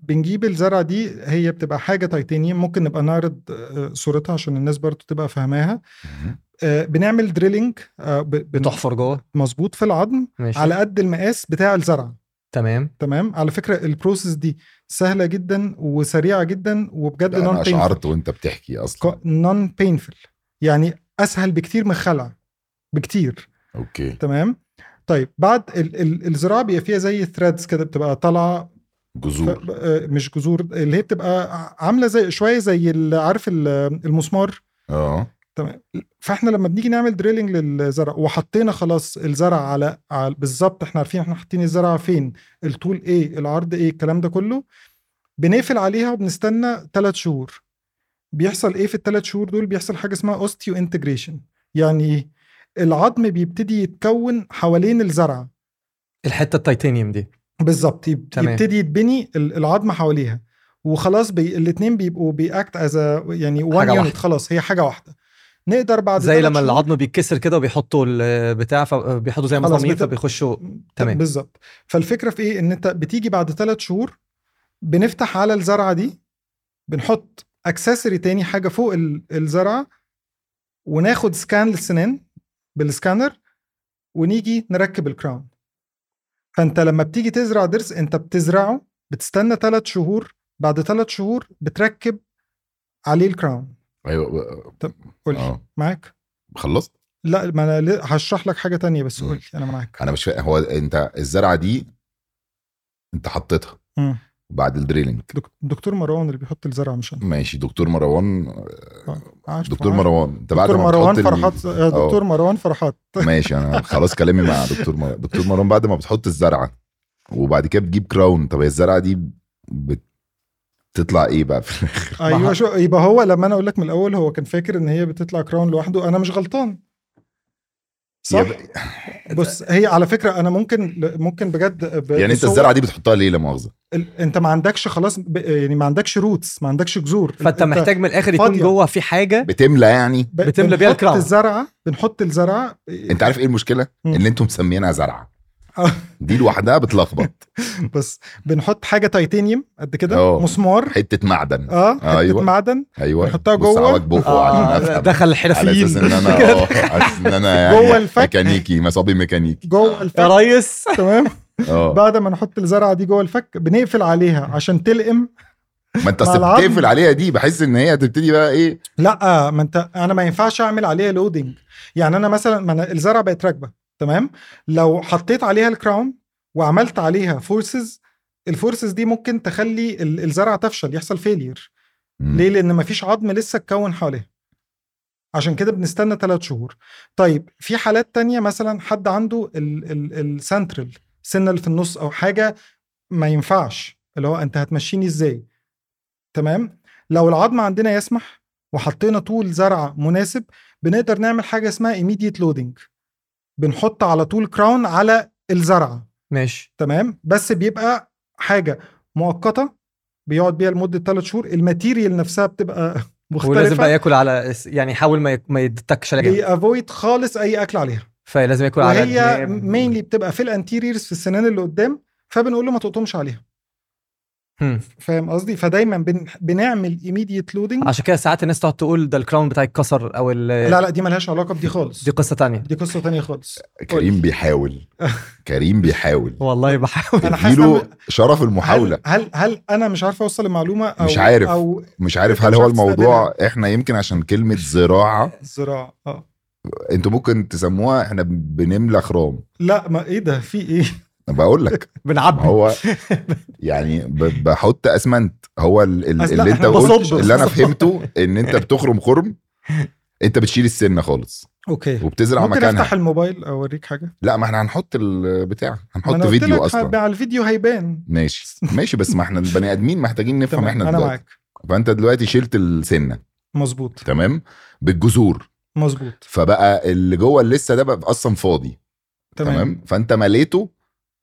بنجيب الزرعه دي هي بتبقى حاجه تيتانيوم ممكن نبقى نعرض آه، صورتها عشان الناس برضو تبقى فاهماها
مم.
آه، بنعمل دريلينج آه،
بتحفر جوه
مظبوط في العظم
ماشي
على قد المقاس بتاع الزرعه
تمام
تمام على فكره البروسيس دي سهله جدا وسريعه جدا وبجد
ده
نون
انا
painful
شعرت وانت بتحكي اصلا
نون بينفل يعني اسهل بكتير من خلع بكتير
اوكي
تمام طيب بعد ال ال الزراعه بيبقى فيها زي ثريدز كده بتبقى طالعه ف-
جذور
آه، مش جذور اللي هي بتبقى ع- عامله زي شويه زي ال- عارف ال- المسمار
اه
فاحنا لما بنيجي نعمل دريلنج للزرع وحطينا خلاص الزرع على, على بالظبط احنا عارفين احنا حاطين الزرع فين الطول ايه العرض ايه الكلام ده كله بنقفل عليها وبنستنى ثلاث شهور بيحصل ايه في الثلاث شهور دول بيحصل حاجه اسمها اوستيو انتجريشن يعني ايه العظم بيبتدي يتكون حوالين الزرع
الحته التيتانيوم دي
بالظبط يب-
تمام.
يبتدي يتبني ال- العظم حواليها وخلاص بي... الاثنين بيبقوا بياكت از يعني وان
حاجة
يونت
واحدة.
خلاص هي حاجه واحده نقدر بعد
زي
ثلاث
لما
شهور-
العظم بيتكسر كده وبيحطوا البتاع فبيحطوا زي
خلاص
مسامير
بتبقى-
فبيخشوا تمام.
بالظبط فالفكره في ايه ان انت بتيجي بعد ثلاث شهور بنفتح على الزرعه دي بنحط اكسسوري تاني حاجه فوق ال- الزرعه وناخد سكان للسنان بالسكانر ونيجي نركب الكراون فانت لما بتيجي تزرع ضرس انت بتزرعه بتستنى ثلاث شهور بعد ثلاث شهور بتركب عليه الكراون
ايوه
قول لي
اه
معاك
خلصت
لا ما انا ل- هشرح لك حاجه تانية بس قول لي انا معاك
انا مش فاهم هو انت الزرعه دي انت حطيتها
مم.
بعد الدريلينج
دك- دكتور مروان اللي بيحط الزرعه مش انا
ماشي دكتور مروان
عارف
دكتور
عارف.
مروان انت بعد
دكتور
ما
مروان
بتحط ال-
فرحات آه، دكتور مروان فرحات
ماشي انا خلاص كلامي مع دكتور مروان دكتور مروان بعد ما بتحط الزرعه وبعد كده بتجيب كراون طب هي الزرعه دي بتطلع ايه بقى في الاخر
ايوه شو يبقى هو لما انا اقول لك من الاول هو كان فاكر ان هي بتطلع كراون لوحده انا مش غلطان صح
يبقى-
بص هي على فكره انا ممكن ممكن بجد ب-
يعني انت
بصور-
الزرعه دي بتحطها ليه لا مؤاخذه
ال- انت ما عندكش خلاص ب... يعني ما عندكش روتس ما عندكش جذور
فانت محتاج من الاخر يكون
فاضية.
جوه في حاجه
بتملى يعني
ب...
بتملى بيها
بنحط
الكراون.
الزرعه بنحط الزرعه
انت عارف ايه المشكله
مم.
ان انتوا مسمينها زرعه
آه.
دي لوحدها بتلخبط
بس بنحط حاجه تيتانيوم قد كده
أوه.
مسمار
حته معدن
اه حته
أيوة.
معدن
ايوه
بنحطها
بص
جوه.
على بقه
آه،
عشان افهم
دخل
على اساس
الحرفيين
ان انا اه على اساس ان انا يعني
جوه الفك
ميكانيكي مصابي ميكانيكي
جوه
يا
الفك
ريس
تمام
اه
بعد ما نحط الزرعه دي جوه الفك بنقفل عليها عشان تلقم
ما انت
مع
أصل
العظم.
بتقفل عليها دي بحس ان هي هتبتدي بقى ايه
لا ما انت انا ما ينفعش اعمل عليها لودنج يعني انا مثلا ما أنا الزرعه بقت راكبه تمام لو حطيت عليها الكراون وعملت عليها فورسز الفورسز دي ممكن تخلي ال- الزرعه تفشل يحصل فيلير
مم.
ليه لان ما فيش عظم لسه اتكون حواليها عشان كده بنستنى ثلاث شهور طيب في حالات تانية مثلا حد عنده ال- ال- السنترال سنه اللي في النص او حاجه ما ينفعش اللي هو انت هتمشيني ازاي تمام لو العظم عندنا يسمح وحطينا طول زرع مناسب بنقدر نعمل حاجه اسمها immediate loading بنحط على طول كراون على الزرعه
ماشي
تمام بس بيبقى حاجه مؤقته بيقعد بيها لمده ثلاث شهور الماتيريال نفسها بتبقى
ولازم بقى
مختلفه
ياكل على يعني يحاول ما يك- ما يتكش على جنب
بيأفويد خالص اي اكل عليها
فلازم ياكل على
وهي
جنب.
مينلي بتبقى في الانتيريرز في السنان اللي قدام فبنقول له ما تقطمش عليها
هم.
فاهم قصدي فدايما بن... بنعمل immediate loading
عشان كده ساعات الناس تقعد تقول ده الكراون بتاعي اتكسر او ال-
لا لا دي ملهاش علاقه بدي خالص
دي قصه تانية
دي قصه تانية خالص
كريم بيحاول كريم بيحاول
والله بحاول
أنا حاسس
اديله
إن-
شرف المحاوله
هل هل, هل انا مش عارف اوصل المعلومه او
مش عارف.
او
مش عارف
أنت
هل
مش
هو
عارف
الموضوع احنا يمكن عشان كلمه زراعه
الزراعه اه
انتوا ممكن تسموها احنا بنملى خرام
لا ما ايه إيه ده في ايه
بقول لك
بنعبي
هو يعني ب- بحط اسمنت هو ال- ال-
أصل
اللي انت
إحنا
قلت
بصب-
اللي انا
بصب.
فهمته ان انت بتخرم خرم انت بتشيل السنه خالص
اوكي
وبتزرع
ممكن
مكانها
افتح الموبايل اوريك حاجه
لا ما احنا هنحط البتاع
ما
هنحط
أنا قلت لك
فيديو
هبقى
اصلا
على الفيديو هيبان
ماشي ماشي بس ما احنا البني ادمين محتاجين نفهم
تمام
احنا
انا
دلوقتي
معاك
فانت دلوقتي شلت السنه
مظبوط
تمام بالجذور
مظبوط
فبقى اللي جوه اللسه ده بقى اصلا فاضي تمام,
تمام
فانت مليته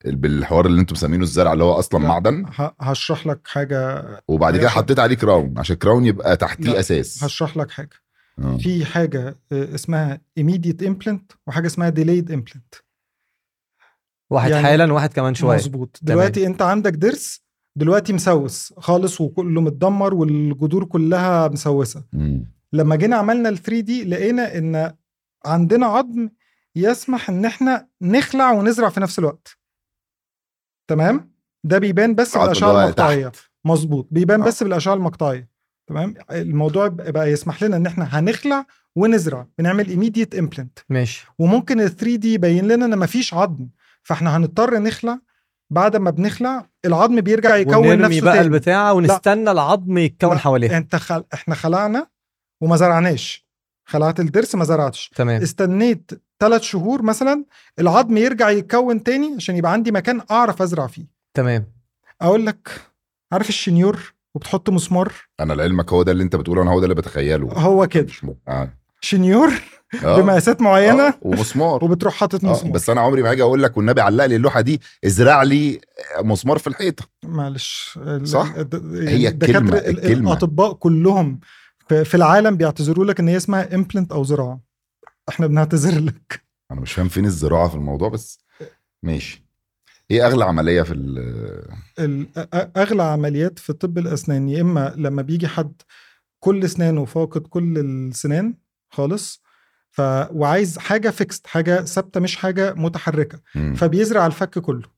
بالحوار اللي انتم مسمينه الزرع اللي هو اصلا
لا.
معدن
ه- هشرح لك حاجه
وبعد كده
ماشي.
حطيت عليه كراون عشان كراون يبقى تحتيه
لا.
اساس
هشرح لك حاجه
آه.
في حاجه آه، اسمها immediate implant وحاجه اسمها delayed implant
واحد
يعني-
حالا واحد كمان شويه
مظبوط دلوقتي انت عندك ضرس دلوقتي مسوس خالص وكله متدمر والجذور كلها مسوسه
مم.
لما جينا عملنا ال 3 دي لقينا ان عندنا عظم يسمح ان احنا نخلع ونزرع في نفس الوقت تمام ده بيبان بس
العظم اللي
بالاشعه
هو
المقطعيه مظبوط بيبان
آه.
بس بالاشعه المقطعيه تمام الموضوع بقى بقى يسمح لنا ان احنا هنخلع ونزرع بنعمل immediate implant
ماشي
وممكن ال 3 دي يبين لنا ان مفيش عظم فاحنا هنضطر نخلع بعد ما بنخلع العظم بيرجع يكون
ونرمي
نفسه
بقى
تاني
البتاعه ونستنى العظم يتكون
لا.
إيه.
حواليها
انت خل... احنا خلعنا وما زرعناش خلعت الضرس ما زرعتش
إيه.
تمام
استنيت ثلاث شهور مثلا العظم يرجع يتكون تاني عشان يبقى عندي مكان اعرف ازرع فيه
تمام
اقول لك عارف الشنيور وبتحط مسمار
انا لعلمك هو ده اللي انت بتقوله انا هو ده اللي بتخيله
هو كده
مش م... آه.
شنيور
آه.
بمقاسات
آه.
معينه
ومسمار
وبتروح حاطط
آه.
مسمار
بس انا عمري ما هاجي اقول لك والنبي علق لي اللوحه دي ازرع لي مسمار في الحيطه
معلش
صح؟
هي
هي الكلمة- الكلمة.
الاطباء كلهم في في العالم بيعتذروا لك ان هي اسمها امبلنت او زراعه احنا بنعتذر لك
انا مش فاهم فين الزراعه في الموضوع بس ماشي ايه اغلى عمليه في ال-
ال- أ- أ- اغلى عمليات في طب الاسنان يا اما لما بيجي حد كل اسنانه فاقد كل السنان خالص ف وعايز حاجه فيكست حاجه ثابته مش حاجه متحركه
مم.
فبيزرع الفك كله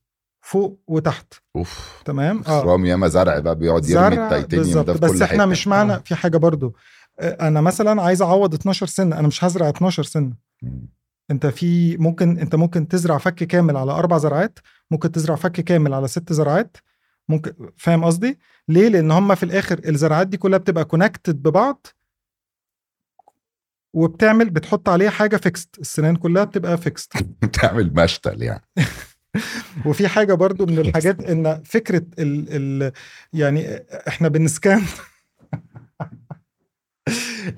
فوق وتحت
اوف
تمام
خرام ياما زرع بقى بيقعد يرمي
آه. زرع
التيتانيوم
بالظبط،
ده في
بس
كل
احنا
حته
مش معنى
آه.
في حاجه برضو آه، انا مثلا عايز اعوض 12 سنه انا مش هزرع 12 سنه
مم.
انت في ممكن انت ممكن تزرع فك كامل على اربع زرعات ممكن تزرع فك كامل على ست زرعات ممكن فاهم قصدي ليه لان هم في الاخر الزرعات دي كلها بتبقى كونكتد ببعض وبتعمل بتحط عليها حاجه فيكست السنان كلها بتبقى فيكست
بتعمل مشتل يعني
وفي حاجه برضو من الحاجات ان فكره ال ال يعني احنا بنسكان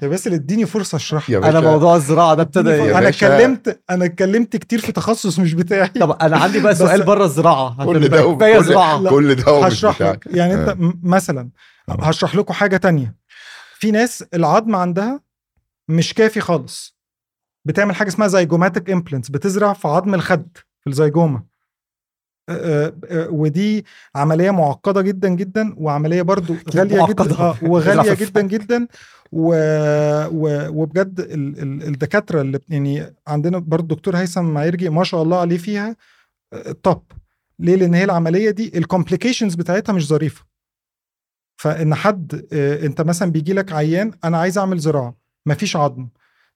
يا باسل اديني فرصه اشرح
يا
انا
باشا،
موضوع الزراعه ده ابتدى
يا
انا
باشا.
اتكلمت انا اتكلمت كتير في تخصص مش بتاعي
طب انا عندي بقى
بس-
سؤال بره الزراعه
كل ده وب-
كفايه
كل-
زراعه
لا،
كل ده ومش
هشرح
بتاعك.
لك يعني انت
آه.
م- مثلا
آه.
هشرح لكم حاجه تانية في ناس العظم عندها مش كافي خالص بتعمل حاجه اسمها زيجوماتيك امبلنتس بتزرع في عظم الخد في الزيجوما آه، آه، ودي عمليه معقده جدا جدا وعمليه برضو غاليه
معقدة.
جدا آه،
بتزرع
وغاليه
في
جدا
الفك.
جدا و... و... وبجد ال... ال... الدكاتره اللي يعني عندنا برضو دكتور هيثم معيرجي ما شاء الله عليه فيها طب ليه لان هي العمليه دي الكومبليكيشنز بتاعتها مش ظريفه فان حد آه، انت مثلا بيجي لك عيان انا عايز اعمل زراعه مفيش عظم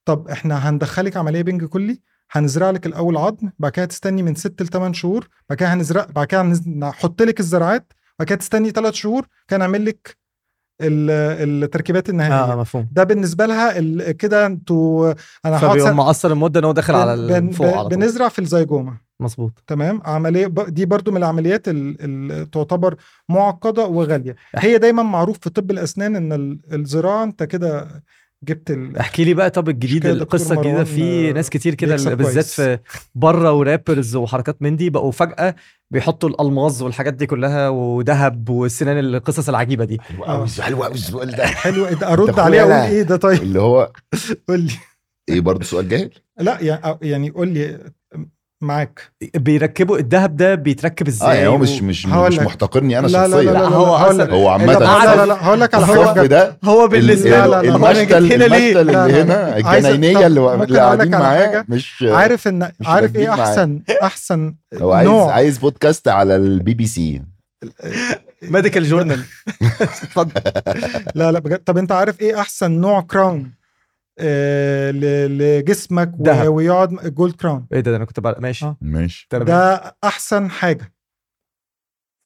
طب احنا هندخلك عمليه بنج كلي هنزرع لك الاول عظم بعد كده تستني من 6 ل 8 شهور بعد كده هنزرع بعد كده هنز- نحط لك الزراعات بعد كده تستني 3 شهور كان نعمل لك ال- التركيبات النهائيه
اه
آه.
مفهوم
ده بالنسبه لها ال- كده انتوا انا هقعد
فبيقوم
سنة-
مقصر المده ان هو داخل على
بن- بن-
ال- فوق على طول
بنزرع في الزيجومه
مظبوط
تمام عمليه ب- دي برضو من العمليات اللي تعتبر معقده وغاليه هي دايما معروف في طب الاسنان ان ال- الزراعه انت كده جبت ال...
احكي لي بقى طب الجديد
كده دكتور
القصه الجديده
مروان، آه،
في ناس كتير كده
بيكسب
اللي بالذات
كويس.
في بره ورابرز وحركات من دي بقوا فجاه بيحطوا الالماظ والحاجات دي كلها وذهب والسنان القصص العجيبه دي
حلو
آه.
قوي السؤال- حلو قوي السؤال ده
حلو إيه ده ارد
أخويا
عليه اقول
لا.
ايه ده طيب
اللي هو
قول لي
ايه برضه سؤال جاهل
لا يعني يعني قول لي معاك
بيركبوا الدهب ده بيتركب ازاي
اه يعني هو
و-
مش مش
هقول
مش
لك.
محتقرني انا
لا لا
شخصيا
لا لا, لا, لا,
هو
هقول
أصلا-
لك.
هو عامه
لا،
لا لا
الصف-
لا هقول لك على حاجه
الصف
بجد.
ده
هو بالنسبه
لا، لا، لا، هو أنا
المشتل
جيت هنا ليه؟
المشتل
لا،
اللي
لا،
هنا
عايز-
الجناينيه
طب
اللي
ممكن
اللي
أقول
قاعدين
لك على
معاه
حاجة؟
مش
عارف ان
مش
عارف ايه
راكبين معاك.
احسن احسن
هو عايز
نوع
عايز بودكاست على البي بي سي
ميديكال جورنال
لا لا بجد طب انت عارف ايه احسن نوع إيه كراون آه، ل- لجسمك و-
دهب.
ويقعد جولد كراون
ايه ده, ده انا كنت بقى ماشي
آه.
ماشي
ده أنا بقى-
ده احسن حاجه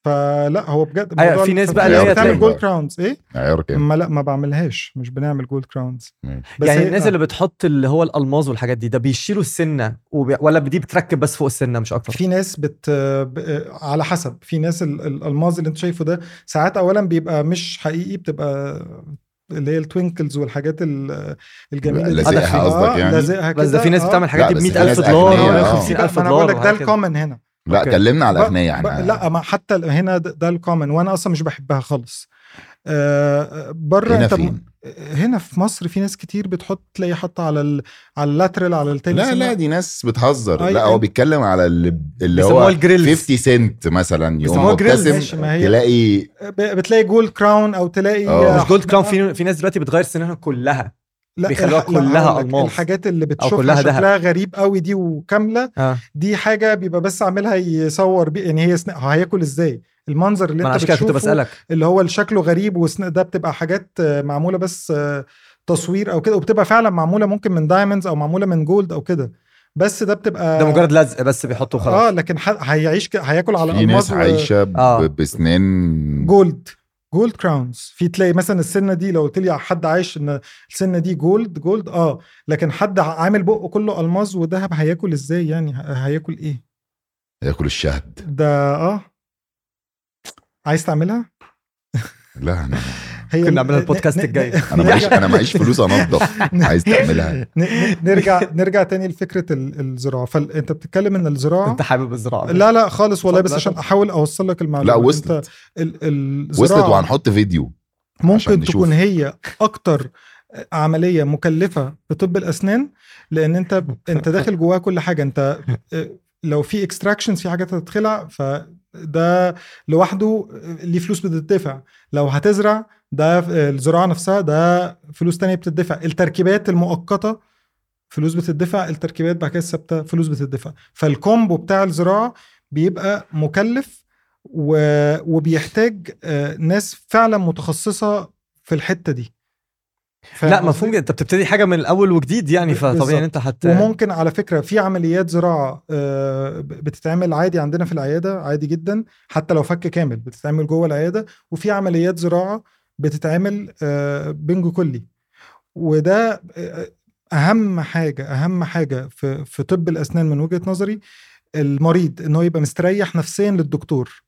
فلا هو بجد
أيوة،
موضوع
في ناس
الفن-
بقى
اللي هي
بتعمل
تلاقي-
جولد كراونز ايه
عيار كام
ما لا ما بعملهاش مش بنعمل جولد كراونز
ماشي.
بس
يعني
هي-
الناس
آه.
اللي بتحط اللي هو الالماظ والحاجات دي ده بيشيلوا السنه وبي... ولا دي بتركب بس فوق السنه مش اكتر
آه، في ناس بت ب- آه، على حسب في ناس ال- الالماظ اللي انت شايفه ده ساعات اولا بيبقى مش حقيقي بتبقى اللي هي التوينكلز والحاجات ال- الجميله دي.
لازقها
آه،
قصدك يعني؟
لازقها
بس ده
كده،
في ناس
آه.
بتعمل الحاجات
لا،
دي ب
بس في
100000
ناس
دولار
أغنياء،
ولا
آه.
50000
ما انا بقول
دولار
لك ده
وحاجات كده.
الكومن هنا
لا
أوكي.
اتكلمنا على
بق-
اغنيه
بق-
احنا
لا ما حتى ال- هنا ده, ده الكومن وانا اصلا مش بحبها خالص آه، بره
هنا
انت م-
فين
هنا في مصر في ناس كتير بتحط تلاقي حاطه على ال... على اللاترال على التاني
لا لا دي ناس بتهزر
أي-
لا هو
أي.
بيتكلم على اللي, اللي
بيسموها
هو
الجريلز.
50 سنت مثلا يقوم
بيسموها جريلز.
مبتسم
ماشي، ما هي-
تلاقي
بتلاقي جولد كراون او تلاقي
آه.
مش جولد كراون في في ناس دلوقتي بتغير سنانها كلها
لا
بيخلوها
الح- لا،
كلها
هقولك،
ألماس.
الحاجات اللي بتشوفها
كلها دهب.
شكلها غريب قوي دي وكامله
اه
دي حاجه بيبقى بس عاملها يصور بيه يعني هي سن... هياكل ازاي المنظر اللي
ما انا
انت
عشان كده كنت
بتشوفه
بسالك
اللي هو اللي شكله غريب وسن... ده بتبقى حاجات آه، معموله بس آه، تصوير او كده وبتبقى فعلا معموله ممكن من دايموندز او معموله من جولد او كده بس ده بتبقى
ده مجرد لزق بس بيحطه
اه
خلاص
لكن ح... هيعيش ك... هياكل على
في ناس
ألماس و-
عايشه ب-
آه.
بسنان
جولد جولد كراونز في تلاقي مثلا السنه دي لو قلت لي حد عايش ان السنه دي جولد جولد اه لكن حد عامل بقه كله الماس وذهب هياكل ازاي يعني ه- هياكل ايه
ياكل الشهد
ده اه عايز تعملها
لا انا
هي
ممكن نعملها
ن-
البودكاست
يعني ن- ن- يعني
الجاي. يعني
انا معيش
نرجع-
انا معيش فلوس انضف عايز تعملها
ن- ن- نرجع نرجع تاني لفكره ال- الزراعه فانت بتتكلم ان الزراعه
انت حابب الزراعه
لا لا خالص والله بس
اتفضل.
عشان احاول اوصل لك المعلومه
لا
أنت
وصلت
ال- الزراعه
وصلت وهنحط فيديو عشان
ممكن
نشوف.
تكون هي اكتر عمليه مكلفه في طب الاسنان لان انت انت داخل جواها كل حاجه انت آه، لو في اكستراكشنز في حاجات هتتخلع فده لوحده آه، ليه فلوس بتدفع لو هتزرع ده آه، الزراعه نفسها ده فلوس تانية بتدفع التركيبات المؤقته فلوس بتدفع التركيبات بعد كده الثابته فلوس بتدفع فالكومبو بتاع الزراعه بيبقى مكلف و... وبيحتاج آه، ناس فعلا متخصصه في الحته دي فاهم
لا
قصدي؟
مفهوم انت بتبتدي حاجه من الاول وجديد يعني فطبيعي ان انت هت
إيه، وممكن على فكره في عمليات زراعه آه، ب- بتتعمل عادي عندنا في العياده عادي جدا حتى لو فك كامل بتتعمل جوه العياده وفي عمليات زراعه بتتعمل آه، بنج كلي وده آه، اهم حاجه اهم حاجه في في طب الاسنان من وجهه نظري المريض ان هو يبقى مستريح نفسيا للدكتور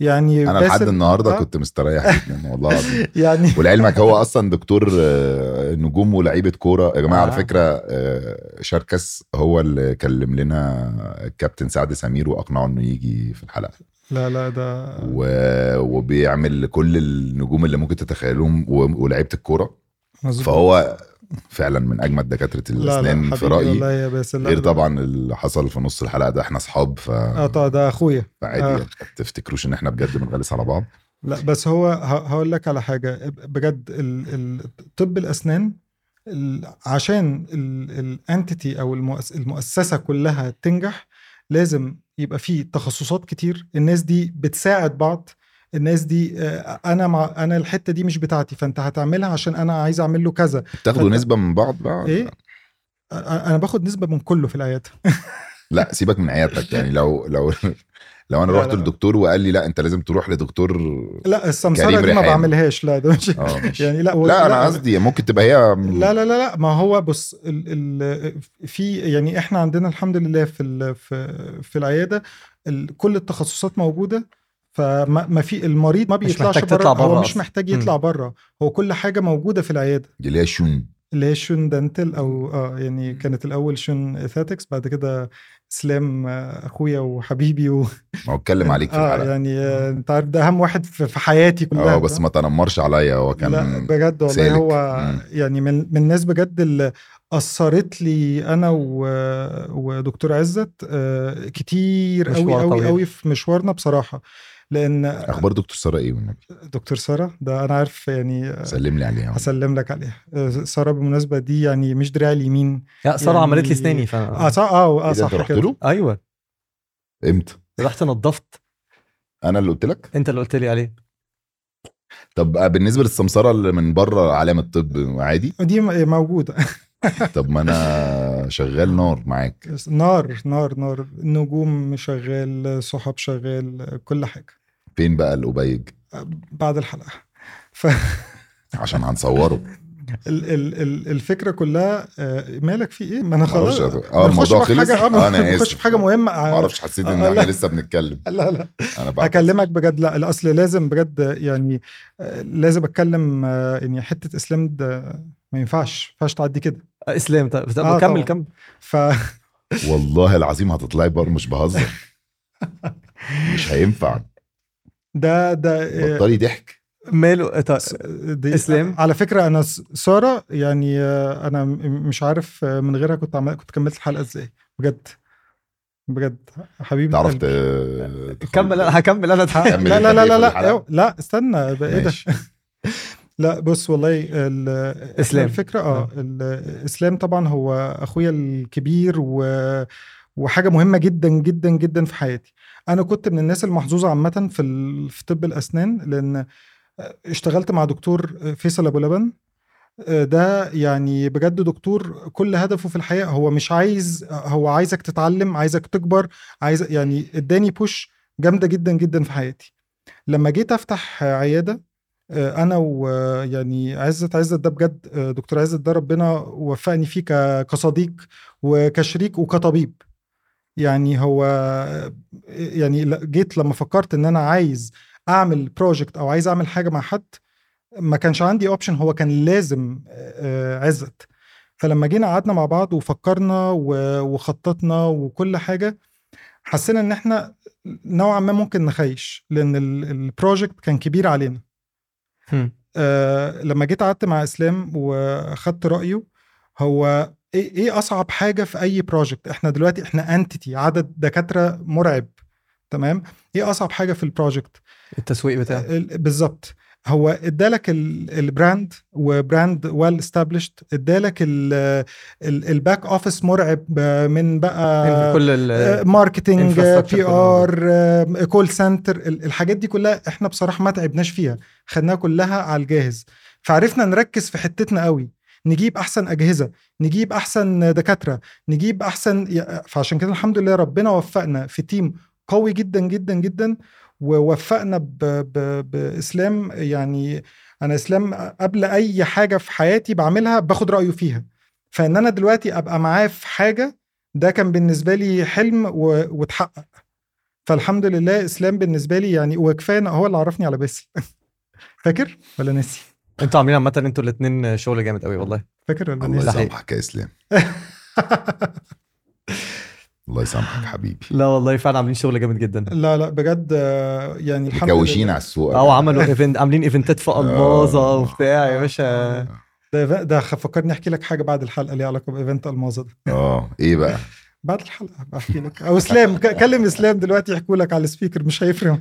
يعني
انا
باسل-
لحد النهارده
آه،
كنت مستريح جدا والله العظيم
يعني
ولعلمك هو اصلا دكتور آه، نجوم ولاعيبه كوره يا جماعه
آه.
على فكره آه، شاركس هو اللي كلم لنا الكابتن سعد سمير واقنعه انه يجي في الحلقه
لا لا ده
و... وبيعمل كل النجوم اللي ممكن تتخيلهم و... ولاعيبه الكوره
مظبوط.
فهو فعلا من اجمد دكاتره
لا
الاسنان
لا
في
حبيبي والله
رايي
يا باسل لا
غير
لا.
طبعا اللي حصل في نص الحلقه ده احنا اصحاب ف...
اه طبعا ده اخويا
فعادي
آه.
يعني ما تفتكروش ان احنا بجد بنغلس على بعض
لا بس هو ه- هقول لك على حاجه بجد ال- ال- طب الاسنان ال- عشان الانتيتي او المؤس- المؤسسه كلها تنجح لازم يبقى في تخصصات كتير الناس دي بتساعد بعض الناس دي آه، انا مع انا الحته دي مش بتاعتي فانت هتعملها عشان انا عايز اعمل له كذا
بتاخدوا
فأنت-
نسبه من بعض بقى ولا
ايه أ- انا باخد نسبه من كله في العياده
لا سيبك من عيادتك يعني لو لو لو انا
لا،
رحت
لا.
للدكتور وقال لي لا انت لازم تروح لدكتور
لا السمسره
كريم
دي ما
ريحان.
بعملهاش لا ده مش
اه ماشي
يعني لا
لا انا قصدي ممكن تبقى هي
لا لا لا لا ما هو بص ال ال في يعني احنا عندنا الحمد لله في ال في, في العياده ال كل التخصصات موجوده فما ما في المريض ما بيطلعش
محتاج تطلع
بره هو
بره
مش
أصلاً.
محتاج يطلع بره هو كل حاجه موجوده في العياده
دي اللي هي شون
اللي هي شون دانتل او اه يعني كانت الاول شون اثاتكس بعد كده اسلام آه، اخويا وحبيبي و...
ما هو اتكلم عليك في
اه
الحلقه
يعني آه، انت عارف ده اهم واحد في في
آه،
حياتي كلها
اه بس ما تنمرش عليا هو
لا
كان
بجد والله
سالك.
هو
مم.
يعني من من الناس بجد اللي اثرت لي انا و... ودكتور عزت آه، كتير قوي
مشوار
قوي
طويل.
قوي في مشوارنا بصراحه لان
اخبار دكتور ساره ايه والنبي
دكتور ساره ده انا عارف يعني آه،
سلم لي عليها
هسلم لك عليها آه، ساره بالمناسبه دي يعني مش دراعي اليمين
لا ساره
يعني-
عملت لي اسناني ف
اه صح اه,
ايه
آه
ده
صح
انت رحت
كده.
له
ايوه
امتى
رحت نظفت
انا اللي قلت لك
انت اللي قلت لي عليه
طب بالنسبه للسمسره اللي من بره عالم الطب عادي
دي م- موجوده
طب ما انا شغال نار معاك
نار نار نار نجوم شغال صحاب شغال كل حاجه
فين بقى القبيج
بعد الحلقه
عشان هنصوره
ال ال ال الفكره كلها آه، مالك في ايه ما انا خلاص
معرفش
ما
اه
نخش
الموضوع
في
خلص
حاجه
آه، انا
نخش
اسف
في حاجه مهمه
ما اعرفش حسيت ان
آه،
احنا
لا.
لسه بنتكلم
لا لا
انا بعد
هكلمك بجد لا الاصل لازم بجد يعني آه، لازم اتكلم آه، يعني حته اسلام ده ما ينفعش ما ينفعش تعدي كده
اسلام طب طب
آه،
كمل
طبعا.
كمل
ف
والله العظيم هتطلعي بره مش بهزر مش هينفع
ده ده آه،
بطلي ضحك
ماله طب
س- دي
إسلام؟
على فكره انا س- ساره يعني آه، انا م- مش عارف آه، من غيرها كنت عمل كنت كملت الحلقه ازاي بجد بجد حبيبي
تعرف
قلبي.
ت- تخرج-
كمل انا هكمل انا
لا
كمل
لا
أنت بإيه في
لا لا لا,
الحلقة؟
لا, لا استنى بقى ايه ده
ماشي.
لا بص والله ال-
إسلام.
الفكره اه الاسلام طبعا هو اخويا الكبير و وحاجه مهمه جدا جدا جدا في حياتي انا كنت من الناس المحظوظه عامه في ال- في طب الاسنان لان اشتغلت مع دكتور آه، فيصل ابو لبن آه، ده يعني بجد دكتور كل هدفه في الحياه هو مش عايز هو عايزك تتعلم عايزك تكبر عايز يعني اداني بوش جامده جدا جدا في حياتي لما جيت افتح عياده آه، انا ويعني عزت عزت ده بجد آه، دكتور عزت ده ربنا وفقني فيه ك- كصديق وكشريك وكطبيب يعني هو آه، يعني ل- جيت لما فكرت ان انا عايز اعمل بروجكت او عايز اعمل حاجه مع حد ما كانش عندي اوبشن هو كان لازم آه، عزت فلما جينا قعدنا مع بعض وفكرنا و- وخططنا وكل حاجه حسينا ان احنا نوعا ما ممكن نخيش لان ال- البروجكت كان كبير علينا
هم.
آه، لما جيت قعدت مع اسلام واخدت رايه هو ايه ايه اصعب حاجه في اي بروجكت احنا دلوقتي احنا انتيتي عدد دكاتره مرعب تمام ايه اصعب حاجه في البروجكت
التسويق بتاعه
ال- بالظبط هو ادالك ال- البراند وبراند ويل استابليشد ادالك ال- ال- الباك اوفيس مرعب آه، من بقى
كل ال-
آه، ماركتنج آه،
infrastructure
بي
كله.
ار آه، كول سنتر ال- الحاجات دي كلها احنا بصراحه ما تعبناش فيها خدناها كلها على الجاهز فعرفنا نركز في حتتنا قوي نجيب احسن اجهزه نجيب احسن دكاتره نجيب احسن يا- فعشان كده الحمد لله ربنا وفقنا في تيم قوي جدا جدا جدا ووفقنا ب... ب... باسلام يعني انا اسلام قبل اي حاجه في حياتي بعملها باخد رايه فيها فان انا دلوقتي ابقى معاه في حاجه ده كان بالنسبه لي حلم و... واتحقق فالحمد لله اسلام بالنسبه لي يعني وكفايه إن هو اللي عرفني على باسل فاكر ولا ناسي
انتوا عاملين عامه انتوا الاثنين شغل جامد قوي والله
فاكر ولا
الله
ناسي
ده حقيقي.
يسامحك يا اسلام الله يسامحك حبيبي
لا والله فعلا عاملين شغل جامد جدا
لا لا بجد آه، يعني الحمد
مكوشين
لله
على السوق
او عملوا ايفنت عاملين ايفنتات في الماظه
آه.
وبتاع يا باشا
ده ده فكرني احكي لك حاجه بعد الحلقه ليها علاقه بايفنت الماظه ده
اه ايه بقى
بعد الحلقه بحكي لك او اسلام ك- كلم اسلام دلوقتي يحكوا لك على السبيكر مش هيفرق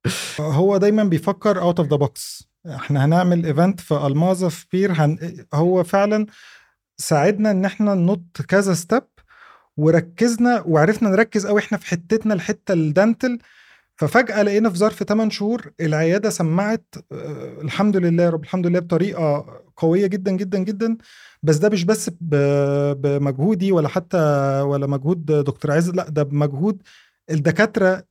هو دايما بيفكر اوت اوف ذا بوكس احنا هنعمل ايفنت في الماظه في بير هن... هو فعلا ساعدنا ان احنا ننط كذا ستيب وركزنا وعرفنا نركز قوي احنا في حتتنا الحته الدانتل ففجاه لقينا في ظرف 8 شهور العياده سمعت آه، الحمد لله يا رب الحمد لله بطريقه قويه جدا جدا جدا بس ده مش بس ب- بمجهودي ولا حتى ولا مجهود دكتور عز لا ده بمجهود الدكاتره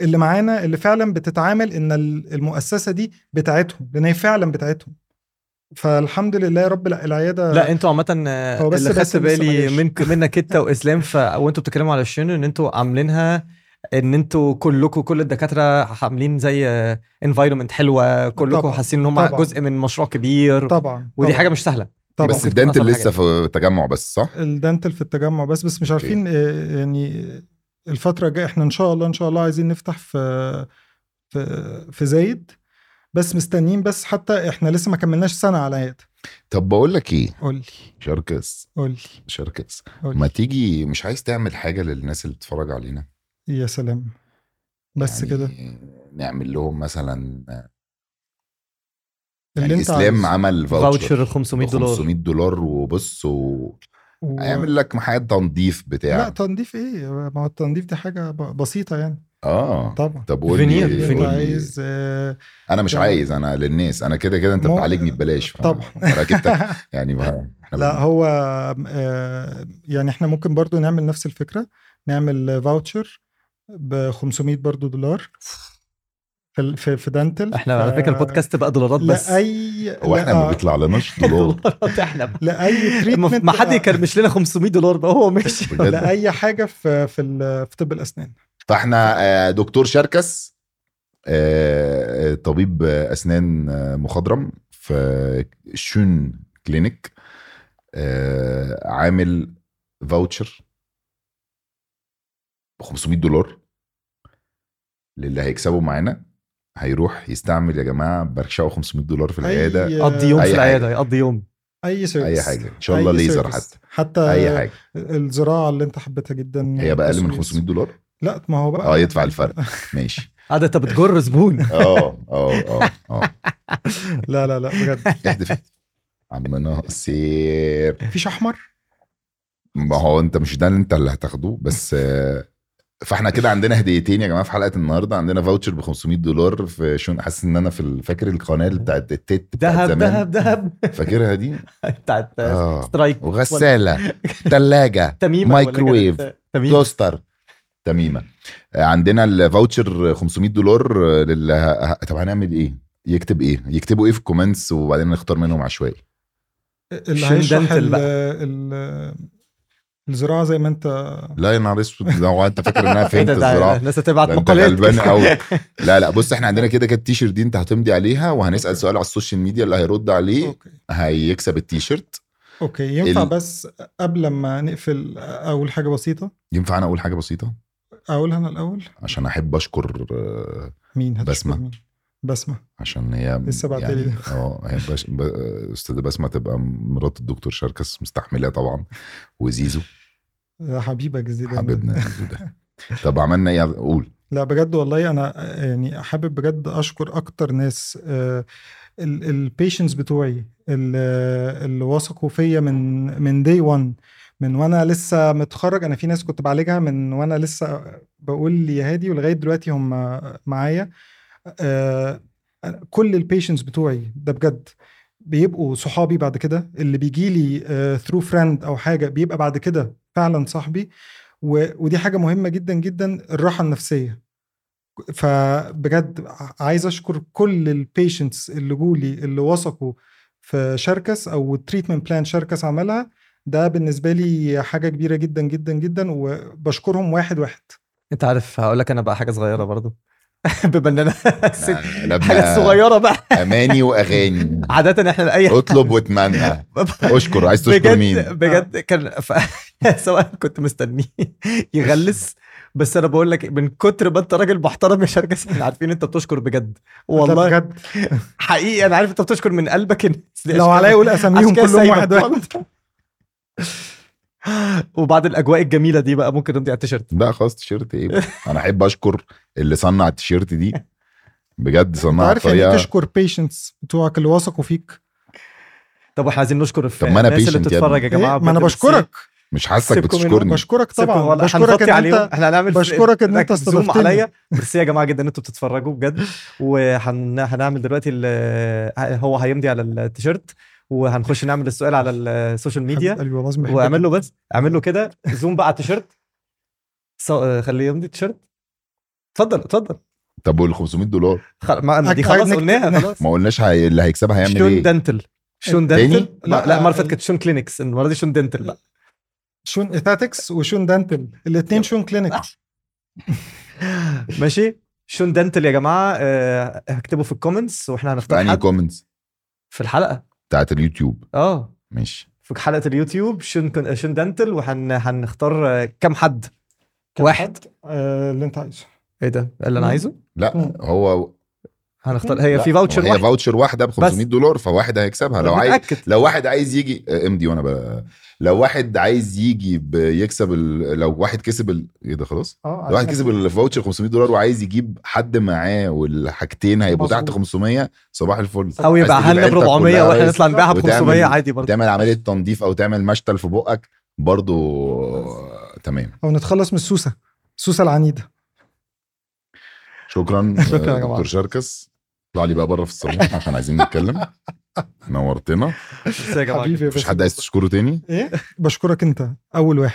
اللي معانا اللي فعلا بتتعامل ان ال- المؤسسه دي بتاعتهم لان هي فعلا بتاعتهم فالحمد لله يا رب لا العياده
لا انتوا عامه آه،
هو بس
اللي خدت
باسم لسه ما
بالي
جاش.
منك منك انت واسلام ف... وانتوا بتتكلموا على الشنو ان انتوا عاملينها ان انتوا كلكم كل الدكاتره عاملين زي انفايرمنت حلوه كلكم
طبعاً،
حاسين ان هم
طبعاً.
جزء من مشروع كبير
طبعا
ودي
طبعاً،
حاجه مش سهله
طبعا
بس
ممكن
الدنتل
تكون أصعب
لسه في تجمع بس صح
الدنتل في التجمع بس بس مش عارفين آه، يعني الفترة الجاية احنا ان شاء الله ان شاء الله عايزين نفتح في في في زايد بس مستنيين بس حتى احنا لسه ما كملناش سنة على عيادة
طب بقول لك ايه
قول لي
شركس
قول لي
شركس
قول
ما
لي
تيجي مش عايز تعمل حاجه للناس اللي بتتفرج علينا
يا سلام بس
يعني
كده
نعمل لهم مثلا
اللي
يعني
انت
اسلام
عايزه.
عمل
فاوتشر
فاوتشر
500 دولار
500 دولار وبص وهيعمل
و...
لك محل تنظيف
لا إيه؟
بتاع
تنظيف ايه ما هو التنظيف دي حاجة ب- بسيطة يعني
اه
طبعا
طب قول
فينير،
لي
فينير.
قول
انت
لي-
عايز آه،
انا مش
ده-
عايز انا للناس انا كده كده انت
مو-
بتعالجني ببلاش ف-
طبعا.
فراكبتك يعني ما- احنا
لا
بن-
هو آه، يعني احنا ممكن برضو نعمل نفس الفكره نعمل فاوتشر ب 500 برضو دولار في ال- في, آه، في دانتل
احنا على فكره البودكاست بقى دولارات بس
لاي
هو احنا ما
لا- آه.
بيطلع لناش دولار
دولارات احنا
لاي تريتمنت
ما حد يكرمش لنا 500 دولار بقى هو ماشي
آه،
بجد
لاي حاجه في في, ال- في طب الاسنان
فاحنا آه، دكتور شركس آه، آه، طبيب آه، اسنان آه، مخضرم في شون كلينيك آه، عامل فاوتشر ب 500 دولار للي هيكسبه معانا هيروح يستعمل يا جماعه برشاو 500 دولار في العياده
أي- آه،
يقضي يوم
أي
في
حاجة.
العياده يقضي يوم
اي سيرفيس
اي حاجه ان شاء الله
أي
ليزر
service. آه،
حتى
حتى
اي حاجه
الزراعه اللي انت حبيتها جدا
هي بقى اقل من
التصوير.
500 دولار
لا ما هو بقى
اه يدفع الفرق ماشي
قاعده انت بتجر زبون
اه اه اه اه
لا لا لا بجد
احذف احذف. عم ناصر
مفيش احمر
ما هو انت مش ده اللي انت اللي هتاخده بس آه، فاحنا كده عندنا هديتين يا جماعه في حلقه النهارده عندنا فاوتشر ب 500 دولار في شون حاسس ان انا في ال- فاكر القناه اللي بتاعت التيت بتاعت
دهب
زمان.
دهب دهب
فاكرها دي
بتاعت
اه
سترايك
وغساله ثلاجه
تميمه ولا كانت-
مايكروويف.
تميمه
توستر تميمه آه، عندنا الفاوتشر 500 دولار آه، لل ه- طب هنعمل ايه؟ يكتب ايه؟ يكتبوا ايه في الكومنتس وبعدين نختار منهم عشوائي
اللي
شن
هيشرح
دانتل
ال-
بقى.
ال- الزراعه زي ما انت
لا يا نهار اسود ده هو انت فاكر ان انا
ايه
فهمت
ده ده
الزراعه
الناس هتبعت
إيه ده انت
مقالات
غلبان قوي لا لا بص احنا عندنا كده كده التيشيرت دي انت هتمضي عليها وهنسال
أوكي.
سؤال على السوشيال ميديا اللي هيرد عليه
اوكي
هيكسب التيشيرت
اوكي ينفع
إيه؟ ال-
بس قبل ما نقفل اول حاجه بسيطه
ينفع انا اقول حاجه بسيطه
اقولها انا الاول
عشان احب اشكر آه،
مين هتشوف
بسمة.
مين؟ بسمه
عشان هي
لسه بعتلي
يعني
ده.
اه هي بش... ب... استاذه بسمه تبقى مرات الدكتور شركس مستحملها طبعا وزيزو
يا حبيبك زيد
حبيبنا زيزو ده طب عملنا ايه قول
لا بجد والله انا يعني حابب بجد اشكر اكتر ناس آه، البيشنس بتوعي ال- اللي وثقوا فيا من من دي 1 من وانا لسه متخرج انا في ناس كنت بعالجها من وانا لسه بقول يا هادي ولغايه دلوقتي هم معايا آه، كل البيشنس بتوعي ده بجد بيبقوا صحابي بعد كده اللي بيجي لي آه، ثرو فريند او حاجه بيبقى بعد كده فعلا صاحبي و- ودي حاجه مهمه جدا جدا الراحه النفسيه فبجد عايز اشكر كل البيشنتس اللي جولي اللي وثقوا في شركس او التريتمنت بلان شركس عملها ده بالنسبه لي حاجه كبيره جدا جدا جدا وبشكرهم واحد واحد
انت عارف هقول لك انا بقى حاجه صغيره برضو بما ان انا ست-
قلبنا
حاجه صغيره بقى
اماني واغاني
عاده احنا لاي
اطلب واتمنى اشكر عايز تشكر
بجد
مين
بجد كان ف... سواء كنت مستنيه يغلس بس انا بقول لك من كتر ما انت راجل محترم يا شركس احنا عارفين انت بتشكر بجد والله
ده بجد
حقيقي انا عارف انت بتشكر من قلبك إن-
لو عليا اقول اساميهم
عشان كده
كلهم
سايبك
واحد واحد
خالص. وبعد الاجواء الجميله دي بقى ممكن نمضي على التيشيرت
لا خلاص تيشيرت ايه بقى؟ انا احب اشكر اللي صنع التيشيرت دي بجد
انت
صنعها
عارف يعني إيه
بطريقه
تشكر بيشنتس بتوعك اللي وثقوا فيك
طب واحنا عايزين نشكر في
طب ما أنا
الناس اللي
patient يا
بتتفرج يا
إيه؟
جماعه
ما انا
بجد
بشكرك
مش حاسك
سيبكم منه.
بتشكرني
بشكرك
سيبكم
طبعا
والله
بشكرك
هنغطي
ان
عليهم
انت
احنا هنعمل
بشكرك إن أنت
زوم
استضفتني.
عليا ميرسي يا جماعه جدا ان انتوا بتتفرجوا بجد وهنعمل دلوقتي ال- هو هيمضي على التيشيرت وهنخش نعمل السؤال على السوشيال ميديا
حبيب قلبي والله لازم أحبك.
واعمل له بس اعمل له كده زوم بقى على التيشيرت صو- آه، خليه يمضي التيشيرت اتفضل اتفضل
طب وال 500 دولار
خل... ما ما دي
أك-
خلاص
نكت-
قلناها خلاص
ما قلناش هي... اللي هيكسبها هيعمل
شون
ايه
دنتل شون
تاني؟
دنتل لا
لا،
لا المره اللي
آه،
فاتت كانت شون كلينكس المره دي شون دنتل بقى
شون ايثاتكس وشون دانتل الاثنين شون كلينيك
ماشي شون دنتل يا جماعه آه، اكتبوا في الكومنتس واحنا
في
هنختار
انهي
حد
كومنتس
في الحلقه
بتاعت اليوتيوب
اه
ماشي
في حلقه اليوتيوب شون كن... شون دنتل وهنختار كام حد واحد
آه، اللي انت عايزه
ايه ده اللي انا
مم.
عايزه
لا
مم.
هو
هنختار هي
لا،
في فاوتشر
هي
واحد
فاوتشر واحده ب 500 دولار فواحد هيكسبها لو عايز
متاكد
لو واحد عايز يجي آه، امضي وانا ب... لو واحد عايز يجي ب... يكسب ال... لو واحد كسب ال... ايه ده خلاص
اه
لو واحد كسب الفاوتشر 500 دولار وعايز يجيب حد معاه والحاجتين هيبقوا تحت
مظبوط.
500 صباح الفل
او
عايز
يبقى
تجيب
لنا ب
عيلتك
400
كلها
واحنا
بس
نطلع نبيعها ب
وتعمل-
500 عادي برضه
تعمل عمليه تنظيف او تعمل مشتل في بقك برضو تمام
او نتخلص من السوسه السوسه العنيده
شكرا
شكراً يا
آه،
جماعة.
دكتور شركس اطلع لي بقى بره في الصالون عشان عايزين نتكلم نورتنا
بس يا جماعه
حبيبي يا
مفيش
باشا إيه؟
حد عايز تشكره تاني
ايه بشكرك انت اول واحد